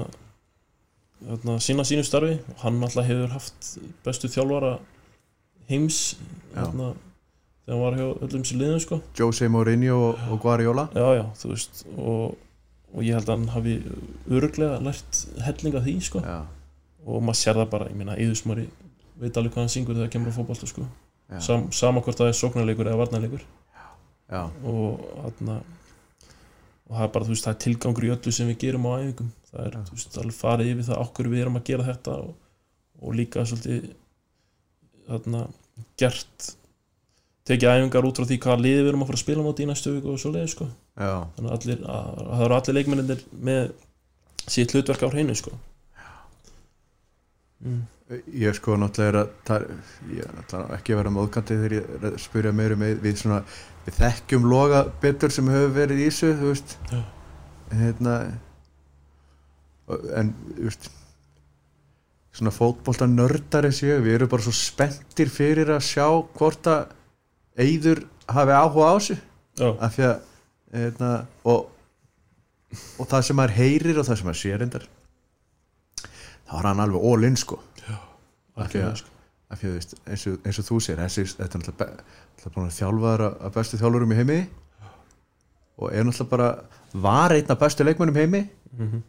S2: þarna sína sínu starfi og hann alltaf hefur haft bestu þjálfara heims
S1: Já.
S2: þarna, þegar hann var hjá öllum sér liðum sko.
S1: Jose Mourinho og, og Guardiola
S2: já, já, þú veist og, og ég held að hann hafi öruglega lært hellinga því sko.
S1: Já,
S2: og maður sér það bara, ég meina, eðusmari veit alveg hvað hann syngur þegar kemur á fótbolta sko.
S1: Já.
S2: Sam, sama hvort það er sóknarleikur eða varnarleikur
S1: já,
S2: og þarna og það er bara, þú veist, það er tilgangur í öllu sem við gerum á æfingum, það er, þú veist, alveg farið yfir það okkur við erum að gera þetta og, og líka svolítið þarna, gert tekið æfingar út frá því hvaða liði við erum að fara að spila á móti í næstu viku og svo sko
S1: já
S2: þannig að allir, að, að það eru allir leikmennir með sitt hlutverk á hreinu sko. mm.
S1: Ég sko náttúrulega er að tar, Ég er náttúrulega ekki að vera móðkandi þegar ég er að spyrja meir um Eið- við svona Við þekkjum loga betur sem hefur verið í þessu, þú veist
S2: Já.
S1: Hérna og- En, þú veist Svona fótbolta nördari séu Við erum bara svo spenntir fyrir að sjá hvort að Eyður hafi áhuga á þessu
S2: Já,
S1: af því að hérna, og, og það sem maður heyrir og það sem maður sér reyndar þá er hann alveg all in sko af því
S2: algjörlega,
S1: að,
S2: sko.
S1: af því að þú veist, eins, og, eins og þú sér þessi, þetta er náttúrulega be- náttúrulega búin að þjálfa þér að bestu þjálfurum í heimi og er náttúrulega bara var einn af bestu leikmönnum heimi
S2: Mhm.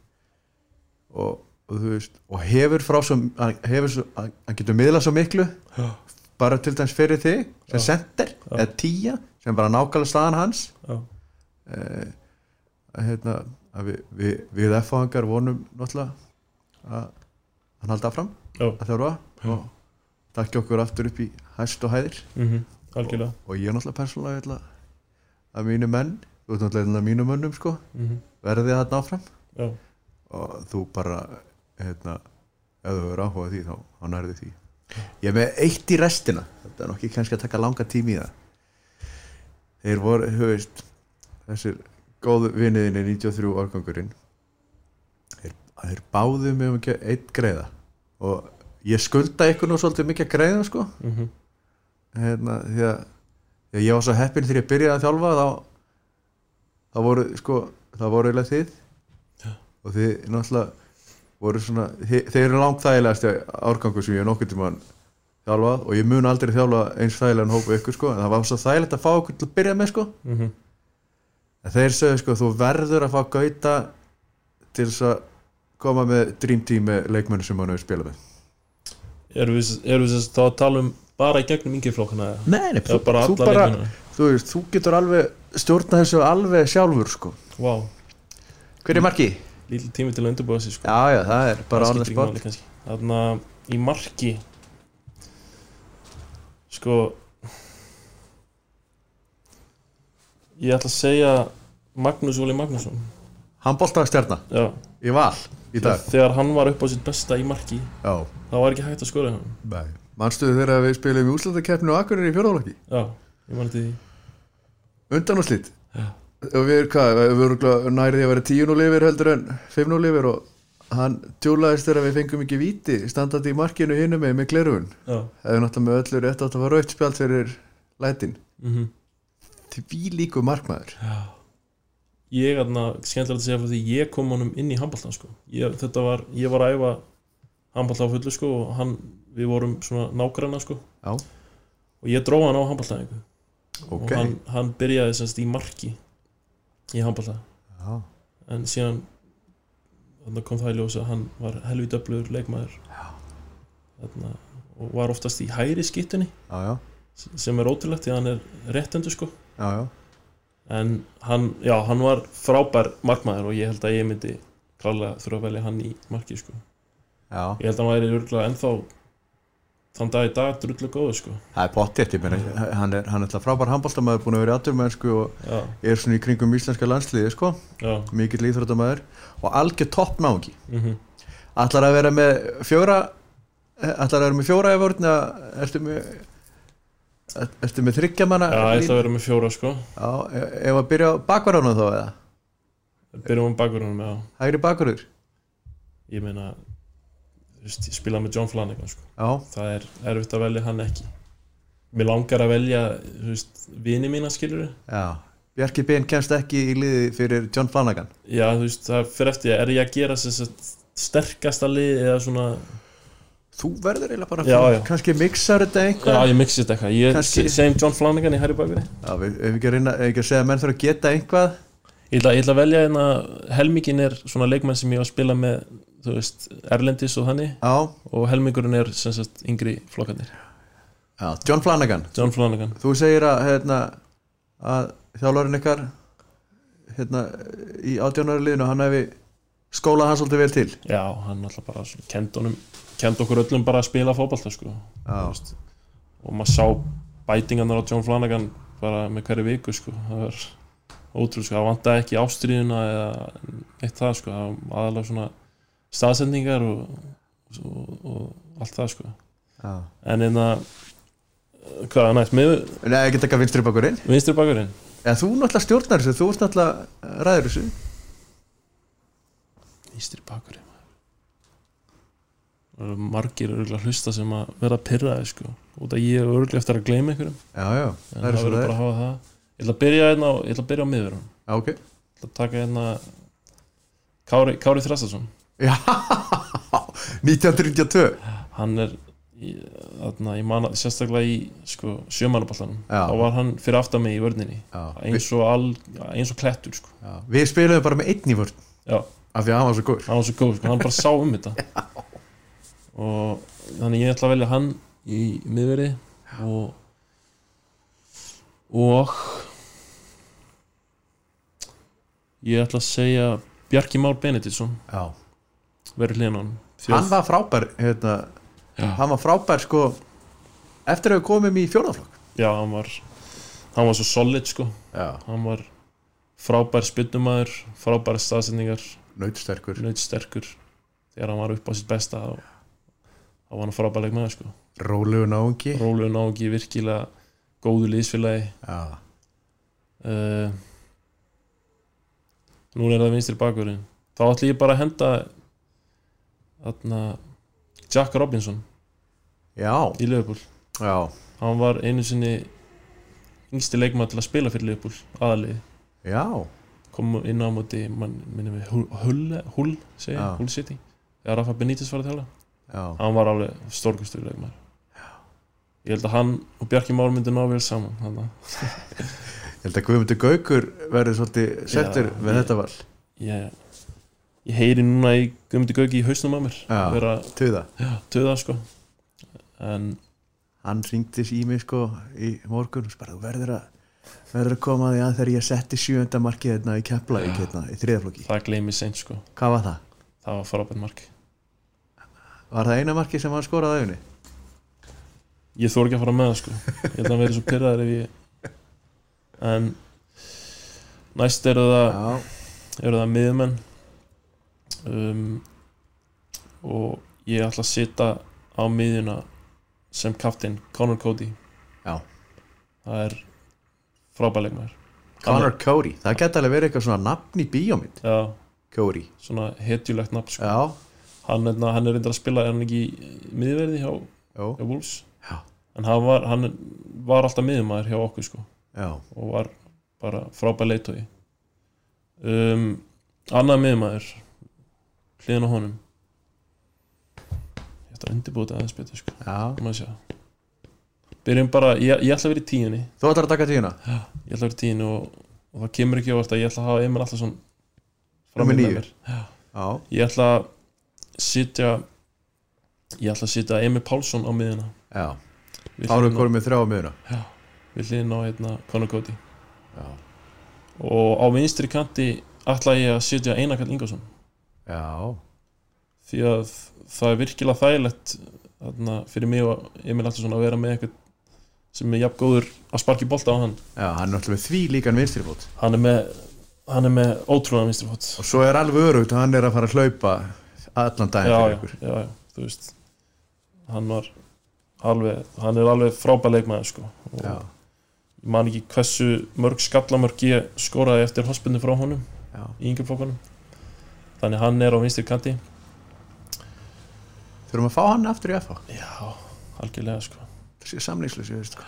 S1: og, og þú veist og hefur frá svo, hann- hefur svo hann hann getur miðla svo miklu
S2: Já,
S1: bara til dæmis fyrir þig sem sender
S2: Já.
S1: eða tíja sem bara nákvæmlega staðan hans
S2: já,
S1: eh, að, hérna, að við, við, við F-hangar vonum náttúrulega að hann halda fram
S2: já,
S1: að þjálfa og takki okkur aftur upp í hæst og hæðir
S2: mhm, algjörlega
S1: og ég náttúrulega persónulega ætla að mínu menn, þú ert náttúrulega að mínu mönnum sko,
S2: mhm,
S1: verði það náfram
S2: Já,
S1: og þú bara hérna, ef þú verður áhuga á því þá, þá nærði því ég er með eitt í restina þetta er nokkið kannski að taka langa tími í það þeir voru, þú veist þessir góðu viniðinni 93 árgangurinn þeir, þeir báðu mig um ekki eitt greiða og ég skulda ykkur nú svolítið mikið að greiða sko
S2: mhm,
S1: hérna, því að því að ég var svo heppinn þegar ég byrjaði að þjálfa þá það voru sko það voru eiginlega þið og þið náttúrulega voru svona þið, þeir eru langt þægilegasti árgangur sem ég hef nokkuð tímann þjálfað og ég mun aldrei þjálfa eins þægilegan hópa ykkur sko en það var svo þægilegt að fá okkur til að byrja með sko
S2: mhm,
S1: en þeir sögðu sko þú verður að fá gauta til þess að koma með Dream Team með leikmennu sem hann hefur spilað með
S2: Erum við erum við sem sagt þá að tala um bara í gegnum yngirflokkana eða?
S1: Nei, nei,
S2: Eða bara alla leikmennina?
S1: þú, veist, þú getur alveg stjórna þessu alveg sjálfur sko
S2: Vá,
S1: Hver er marki?
S2: lítið tími til að undirbúa sig sko
S1: Já, já, það er bara
S2: Það
S1: annað
S2: skiptir
S1: spott
S2: ekki máli kannski. Þarna í marki Sko Ég ætla að segja Magnús Óli Magnússon
S1: Hann boltaði stjarnar
S2: Já,
S1: í val í dag
S2: þegar hann var upp á sitt besta í marki
S1: Já,
S2: Það var ekki hægt að skora hann
S1: nei Manstu þegar við spilum í úslandakeppninu og akkurir í fjórðalaki
S2: Já, ég mani til því
S1: Undan og slít
S2: Já.
S1: Og við erum hvað, við erum nærið því að vera 10 og lifir heldur en 5 og lifir og hann tjúlaðist þegar við fengum ekki víti standandi í markinu hinum með með glerun
S2: Já,
S1: hefur náttúrulega með öllu rétt átt að fara raut spjald fyrir lætin
S2: mhm
S1: því líku markmaður
S2: ég aðna, skemmtilegt að segja fyrir því ég kom honum inn í handbóltan sko. ég, þetta var, ég var að æfa handbóltan á fullu sko og hann, við vorum svona nágranna sko
S1: Já.
S2: og ég dró hann á handbóltan
S1: Ok,
S2: og hann, hann byrjaði semst í marki í handbóltan
S1: já,
S2: en síðan þarna kom það í ljós að hann var helvið öflugur leikmaður þarna, og var oftast í hæri skittunni
S1: já, já,
S2: sem er ótrúlegt því að hann er réttendur sko
S1: já, já.
S2: en hann, já, hann var frábær markmaður og ég held að ég myndi klálega þurfa að velja hann í markið sko.
S1: já.
S2: ég held að hann væri örgulega ennþá þann dag í dag drullu góðu sko
S1: það er pottétt, ég meina, hann er, hann er alltaf frábær handbóltamæður, búin að vera aðdurmennsku og
S2: já,
S1: er svona í kringum íslenska landsliði, sko,
S2: já,
S1: mikill íþróttamæður og algjör toppnáðungi.
S2: mm
S1: Ætlar að vera með fjóra, ætlar að vera með fjóra ef orðin að, ertu með, ertu með þryggja manna?
S2: já ég ætla
S1: línu?
S2: að vera með fjóra sko
S1: Já, e- ef að byrja á bakvarðanum þá eða,
S2: byrjum á bakverðunum, já,
S1: hægri bakvarður,
S2: ég meina þú veist, ég spila með John Flanagan sko
S1: já,
S2: það er erfitt að velja hann ekki mér langar að velja þú veist, vini mína skilur
S1: já, Bjarki Ben kemst ekki í liði fyrir John Flanagan.
S2: já þú veist það fyrir eftir er ég að gera sér sett sterkasta lið eða svona
S1: Þú verður eiginlega bara,
S2: Já, já.
S1: kannski mixar þetta einhver.
S2: já ég mixi þetta eitthvað ég
S1: Kannski-
S2: se- segjum John Flanagan í Harry Bakveri
S1: Já, við hefum ekki að reyna, ef ekki að segja að menn þarf að geta einhvað
S2: ég ætla, ég ætla að velja hérna helmingin er svona leikmenn sem ég á að spila með þú veist Erlendis og þannig
S1: Já,
S2: og helmingurinn er sem sagt yngri flokkarnir
S1: já John Flanagan
S2: John Flanagan
S1: Þú segir að, hérna, að þjálfarinn ykkar hérna, í átjánari liðinu hann hefði skólað hann svolítið vel til
S2: já hann alltaf bara svona kend honum kend okkur öllum bara að spila fótballta sko Þú
S1: Já,
S2: veist, og maður sá bætingarnar á John Flanagan bara með hverju viku sko. það var ótrúlega sko. það vantaði ekki ástriðuna eða eitt það sko. það var aðalega svona staðsendingar og, og, og allt það sko.
S1: já.
S2: en en að hvað er næst, með
S1: Nei, ekki taka vinstri bakurinn
S2: vinstri bakurinn
S1: En þú náttúrulega stjórnar þessu, þú ert náttúrulega eh, ræður þessu
S2: vinstri bakurinn Það eru margir örgulega hlusta sem að vera að pyrra þið sko út að ég er örgulega eftir að gleyma einhverjum
S1: Já, já,
S2: en
S1: það er
S2: það verður
S1: svo
S2: bara
S1: það
S2: að
S1: er
S2: hafa það ég ætla að byrja, hérna á- ég ætla að byrja á miðverðum
S1: Já, ok
S2: ætla að taka hérna Kári, Kári Þrastason
S1: Já, 1992
S2: hann er í, þarna, ég man, að- sérstaklega í sko, sjömanaballanum
S1: Já.
S2: þá var hann fyrir aftan mig í vörninni
S1: já. Vi,
S2: eins og, all, eins og klettur sko.
S1: já. Við spilum bara með einn í vörn
S2: Já.
S1: Af því að hann var svo góð
S2: hann var svo góð, sko. hann bara sá um þetta og þannig ég ætla að velja hann í miðveri og og ég ætla að segja Bjarki Már Benediktsson
S1: Já
S2: verið hliðan á honum.
S1: hann var frábær hérna,
S2: Já.
S1: hann var frábær sko eftir að við komum í fjórðaflokk
S2: Já, hann var hann var svo solid sko
S1: já,
S2: hann var frábær spynnumæður frábær staðsendingar,
S1: nautsterkur
S2: naut sterkur þegar hann var upp á sitt besta þá þá var hann frábær leikmæður sko
S1: rólegu náungi
S2: Róluðu náungi virkilega góðu liðsfélagi
S1: já,
S2: uh, Nú er það vinstri bakurinn þá ætla ég bara að henda þarna Jack Robinson
S1: já,
S2: í Liverpool
S1: já,
S2: hann var einu sinni yngsti leikmæður til að spila fyrir Liverpool aðalið
S1: já.
S2: kom inn á móti mann minnum við Hull, Hull, Hull segja,
S1: Já.
S2: Hull City þegar Rafa Benítez var að tala
S1: já.
S2: hann var alveg stórkustur leikmar ég held að hann og Bjarki Már myndu ná vel saman hann
S1: ég held að Guðmundur Gaukur verði svolítið settur
S2: Já,
S1: með
S2: ég-
S1: þetta val
S2: ég, ég heyri núna í Guðmundi Gauki í hausnum að mér
S1: Já.
S2: vera
S1: tuða,
S2: já, töða sko en
S1: hann ringdis í mig sko í morgun og bara þú verður að verður að koma að því að þegar ég setti sjönda markið hérna í kepla í, hérna, í þriðaflokki,
S2: það gleymi seint sko
S1: hvað var það?
S2: það var frábært mark
S1: var það eina markið sem hann skoraði á einu?
S2: ég þór ekki að fara með það sko ég held að hann verið svo pyrraður ef ég en næst eru það
S1: já,
S2: eru það miðmenn um, og ég ætla að setja á miðjuna sem kaftin Connor Cody
S1: Já.
S2: það er frábæleikmaður
S1: Connor Cody það geti alveg verið eitthvað svona nafn í bíómynd
S2: já,
S1: Cody,
S2: svona hetjulegt nafn sko.
S1: já,
S2: hann, hérna, hann er reyndar að spila er hann ekki í miðverði hjá,
S1: já
S2: hjá Wolves
S1: Já.
S2: en hann var, hann var alltaf miðjumæður hjá okkur sko,
S1: Já,
S2: og var bara frábæð leitói um, annað miðjumæður hliðin á honum ég ætla að undirbúta aðeins betur sko
S1: já.
S2: Ég maður sjá Byrjum bara, ég, ég ætla að vera í tíunni
S1: Þú ætlar að taka tíuna?
S2: Ég ætla að vera í tíunni og, og það kemur ekki ávart að ég ætla að hafa Emil Allarsson
S1: Númer
S2: fram í með
S1: níu.
S2: mér
S1: Já.
S2: Ég ætla að sitja Ég ætla að sitja Emil Pálsson á miðina
S1: Já.
S2: Við
S1: Þá erum við
S2: hliðina-
S1: komin með þrjá á miðuna.
S2: Við hliðin á hérna Conor Cody
S1: Já.
S2: Og á vinstri kanti ætla ég að sitja Einar Karl Ingarsson
S1: Já.
S2: Því að það er virkilega þægilegt þarna, fyrir mig og Emil Atlason að vera með eitthvað sem er jafn góður að sparki bolta á hann
S1: Já, hann er náttúrulega því líkan vinstrifót
S2: hann er með, hann er með ótrúlega vinstri fót
S1: og svo er alveg örugt að hann er að fara að hlaupa allan daginn
S2: já,
S1: fyrir
S2: já,
S1: ykkur
S2: já, já, þú veist hann var alveg, hann er alveg frábær leikmaður sko og
S1: já,
S2: ég man ekki hversu mörg skallamörg ég skoraði eftir hospinu frá honum
S1: já.
S2: í yngjumflokkanum þannig hann er á vinstri kanti
S1: þurfum að fá hann aftur í FH
S2: já, algjörlega sko
S1: þessi samlingslösi, ég veist sko.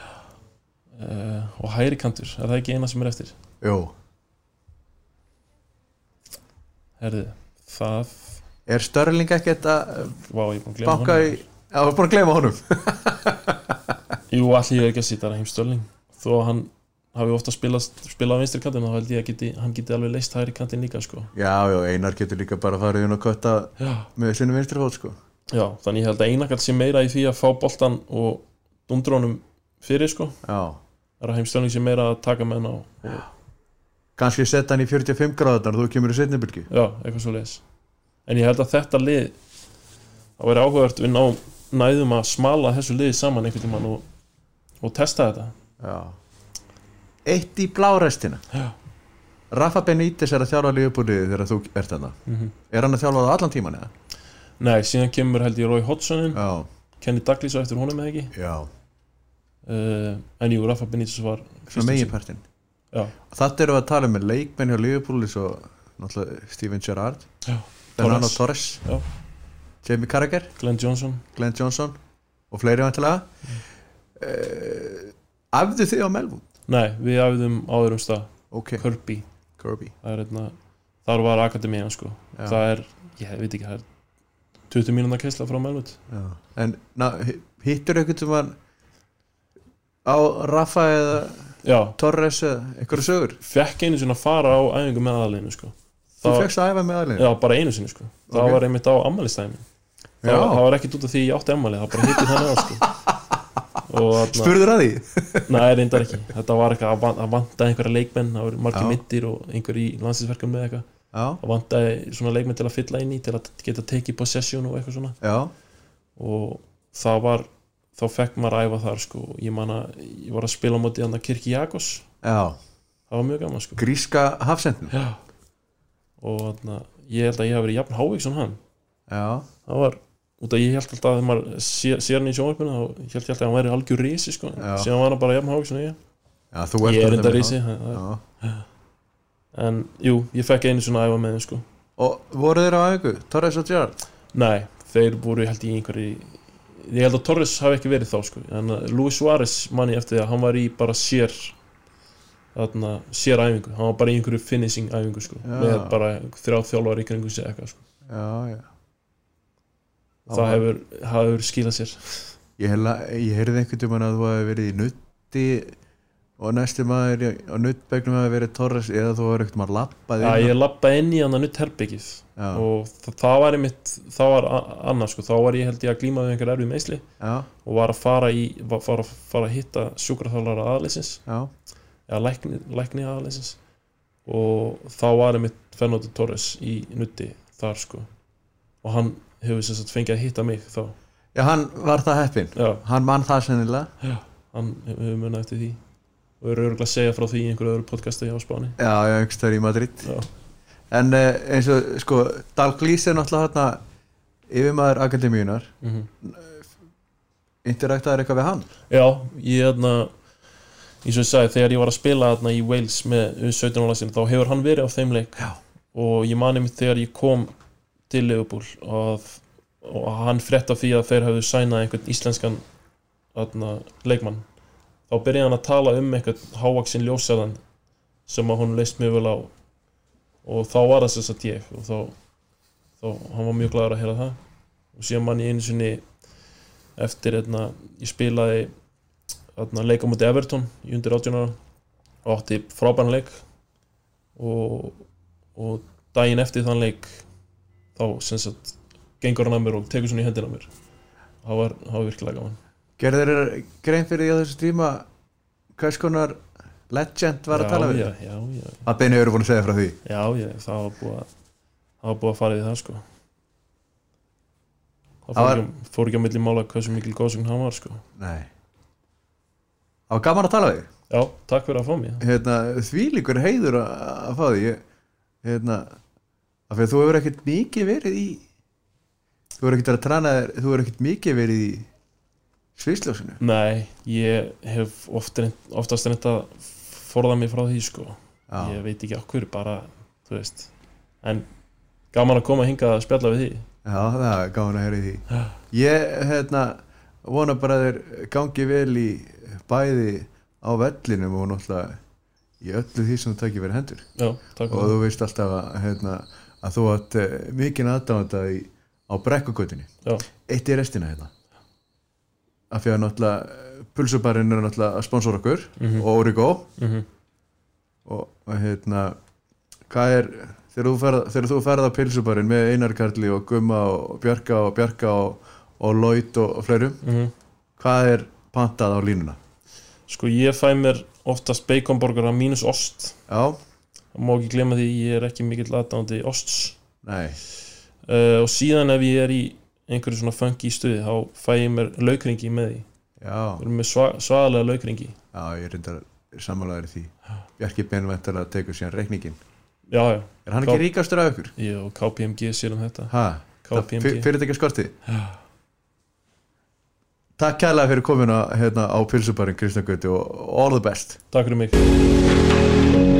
S2: uh, og hægri kantur, er það ekki eina sem er eftir
S1: Jó,
S2: herði, það
S1: er Störling ekkert að eh,
S2: vá, ég er búin að glemja
S1: banka í Já, við erum búin að gleyma honum
S2: Jú, allir ég er ekki að sýta Raheem Stölling þó að hann hafi ofta spilað spilað á vinstri kantinn þá held ég að geti, hann geti alveg leist hægri kantinn líka sko
S1: Já, já, Einar getur líka bara að fara inn og kötta
S2: já.
S1: með sinni vinstrifót sko.
S2: já, þannig ég held að einakall sé meira í því að fá boltan og dundrónum fyrir sko
S1: Já,
S2: Raheim Stölling sé meira að taka með hann á og,
S1: kannski setja hann í 45 gráðarnar þú kemur í setni bylgi
S2: já, eitthvað svo leis en ég held að þetta lið það væri áhugavert við ná, næðum að smala þessu liði saman einhvern tímann og, og testa þetta
S1: Já Eitt í blárestina
S2: Já.
S1: Rafa Benítez er að þjálfa liðbúlið þegar þú ert þarna
S2: Mhm.
S1: Er hann að þjálfa það allan tíman eða?
S2: Nei, síðan kemur held ég Rói Hodgsonin
S1: Já,
S2: Kenny Douglas á eftir honum eða ekki
S1: já
S2: uh, en jú, Rafa Benítez var
S1: Svo meginpartin
S2: Já.
S1: Þetta eru að tala með leikmenn hjá liðbúlið svo náttúrulega Steven Gerrard
S2: Já.
S1: Fernando Torres
S2: Torres.
S1: Jamie Carragher,
S2: Glenn Johnson
S1: Glenn Johnson og fleiri vantilega mm. uh, Æfðu þið á Melvum?
S2: Nei, við æfðum á öðrum stað
S1: Ok,
S2: Kirby,
S1: Kirby
S2: það er einna þar var akademían sko
S1: Já.
S2: það er, ég veit ekki, það er 20 mínúna kessla frá Melwood
S1: Já. En na, hi- hittur einhvern sem hann á Rafa eða
S2: Já,
S1: Torres eða einhverju sögur?
S2: fekk einu sinni að fara á æfingu með aðaleginu sko
S1: Þú
S2: Það-
S1: fegst að æfa með aðlega?
S2: Já, bara einu sinni sko Það
S1: Ok.
S2: var einmitt á ammælistæmi
S1: Já.
S2: það, það var ekkert út af því ég átti ammæli Það bara hitti þannig að sko Og þarna,
S1: Spurður að því?
S2: nei, reyndar ekki Þetta var eitthvað að van- að vanta einhverja leikmenn Það voru margir
S1: Já.
S2: mittir og einhver í landsinsverkum með eitthvað
S1: Já,
S2: Það vantaði svona leikmenn til að fylla inn í Til að geta tekið possession og eitthvað svona
S1: já,
S2: Og það var Þá fekk maður að æfa þar sko Ég man að ég var að spila á móti hann að Kirki Jakobs
S1: já
S2: Það var mjög gaman sko
S1: Gríska hafsendin
S2: Já Og þarna, ég held að ég hafi verið jafn hávik sem hann
S1: Já,
S2: það var út að ég held alltaf að þegar maður sér, sér hann í sjónvarpinu þá held ég alltaf að hann væri algjör risi sko.
S1: Já.
S2: síðan var hann bara jafn hávík sem ég
S1: já þú ert
S2: ég er
S1: þetta
S2: enda
S1: með
S2: risi
S1: þá.
S2: það- það-
S1: Já.
S2: en jú, ég fekk einu svona að æfa með þeim sko.
S1: Og voru þeir á æfingu? Torres og Gerrard?
S2: nei, þeir voru held ég í einhverju ég held að Torres hafi ekki verið þá sko. en að Luis Suárez manni eftir því að hann var í bara sér þarna, sér æfingu, hann var bara í einhverju finishing æfingu sko.
S1: Já.
S2: með bara þrjá þjálfar í kringu sig eitthvað sko.
S1: Já, já
S2: það hefur, hefur skilað sér
S1: Ég, hela, ég heyrði einhvern tímann að þú hafi verið í nutti og næsti maður í- á nuttbegnum hafi verið Torres eða þú hefur einhvern maður lappað
S2: Já,
S1: inn
S2: ég lappa inn í hann að nutt herbyggið
S1: hérna. Já.
S2: og það, það var einmitt það var a- annað sko, þá var ég held ég að glíma við einhver erfið meisli
S1: Já,
S2: og var að fara í var, fara, fara að hitta sjúkraþálara aðlýsins
S1: já,
S2: eða lækni, lækni aðlýsins og þá var einmitt Fernando Torres í nutti þar sko og hann hefur sem sagt fengið að hitta mig þá,
S1: já hann var það heppin
S2: já,
S1: Hann mann það sennilega
S2: hann hefur munið eftir því og eru örgulega að segja frá því í einhverju öðru podcasti á Spáni
S1: Já, já, einhvers þar í Madrid
S2: Já.
S1: En eh, eins og, sko, Dalglís er náttúrulega hérna yfirmaður Akademíunar
S2: mm
S1: Interaktaður eitthvað við hann?
S2: Já, ég hérna eins og ég sagði, þegar ég var að spila hérna í Wales með 17 ára sinni, þá hefur hann verið á þeim leik
S1: Já.
S2: og ég mani mig þegar ég kom til Liverpool að, og hann frétt af því að þeir hafðu sænað einhvern íslenskan hérna, leikmann þá byrjaði hann að tala um einhvern hávaksin ljósæðan sem að hún leist mjög vel á og þá var það þess að ég og þá, þá hann var mjög glæður að heyra það og síðan mann ég einu sinni eftir hérna, ég spilaði þarna, leik á móti Everton í undir 18 ára og átti frábæran leik og, og daginn eftir þann leik þá sem sagt gengur hann að mér og tekur svona í hendina á mér það var, það var virkilega gaman
S1: Gerður þér grein fyrir því á þessu tíma hvers konar legend var að
S2: já,
S1: tala við?
S2: já, já, já,
S1: Að Benni eru búin að segja frá því
S2: já, já, það var búið að það var búið að fara við það sko það
S1: Það
S2: fór,
S1: var-
S2: ekki, á- fór ekki á milli mála hversu mikil góðsögn hann var sko.
S1: Nei Það var gaman að tala við þig.
S2: já, takk fyrir að fá mig
S1: hérna, Því líkur heiður að, að fá því Ég- hérna, af því að Þú hefur ekkert mikið verið í Þú hefur ekkert verið að trana þér Þú hefur ekkert mikið verið í Svisljósinu
S2: nei, ég hef oft reynt, oftast reynt að forða mig frá því sko.
S1: Já,
S2: ég veit ekki okkur, bara þú veist, en gaman að koma hingað að spjalla við því
S1: já, það er gaman að heyra í því
S2: Já.
S1: Ég hérna, vona bara að þér gangi vel í bæði á vellinum og náttúrulega í öllu því sem þú takir verið hendur
S2: já, takk
S1: og
S2: fyrir
S1: þú veist alltaf að, hérna, að þú átt eh, mikinn aðdáðanda á brekkugutinni
S2: Já.
S1: eitt í restina hérna af því að náttúrulega eh, pulsubarinn er náttúrulega að sponsor okkur
S2: Mhm.
S1: og Origo
S2: mm
S1: og, og hérna hvað er þegar þú ferð, þegar þú ferð á pulsubarinn með Einar Karli og Gumma og Bjarka og Bjarka og, og Lloyd og, og fleirum hvað er pantað á línuna
S2: mhm. sko, ég fæ mér oftast baconborgara mínus ost
S1: já,
S2: það má ekki glemma því, ég er ekki mikill aðdándi osts
S1: nei,
S2: uh, og síðan ef ég er í einhverju svona funky stuði, þá fæ ég mér laukringi með því,
S1: já
S2: við erum með sva svaðalega laukringi,
S1: já, ég reyndar sammálaður í því Bjarki Benventar að tekur síðan reikningin
S2: já, já
S1: Er hann ekki
S2: Klá-
S1: ríkastur af ykkur?
S2: ég og KPMG sér um þetta
S1: Ha, það
S2: KPMG.
S1: fyrir þetta ekki skortið Takk kærlega fyrir komuna hérna á Pilsubarinn Kristján Gauti og all the best
S2: takk fyrir mig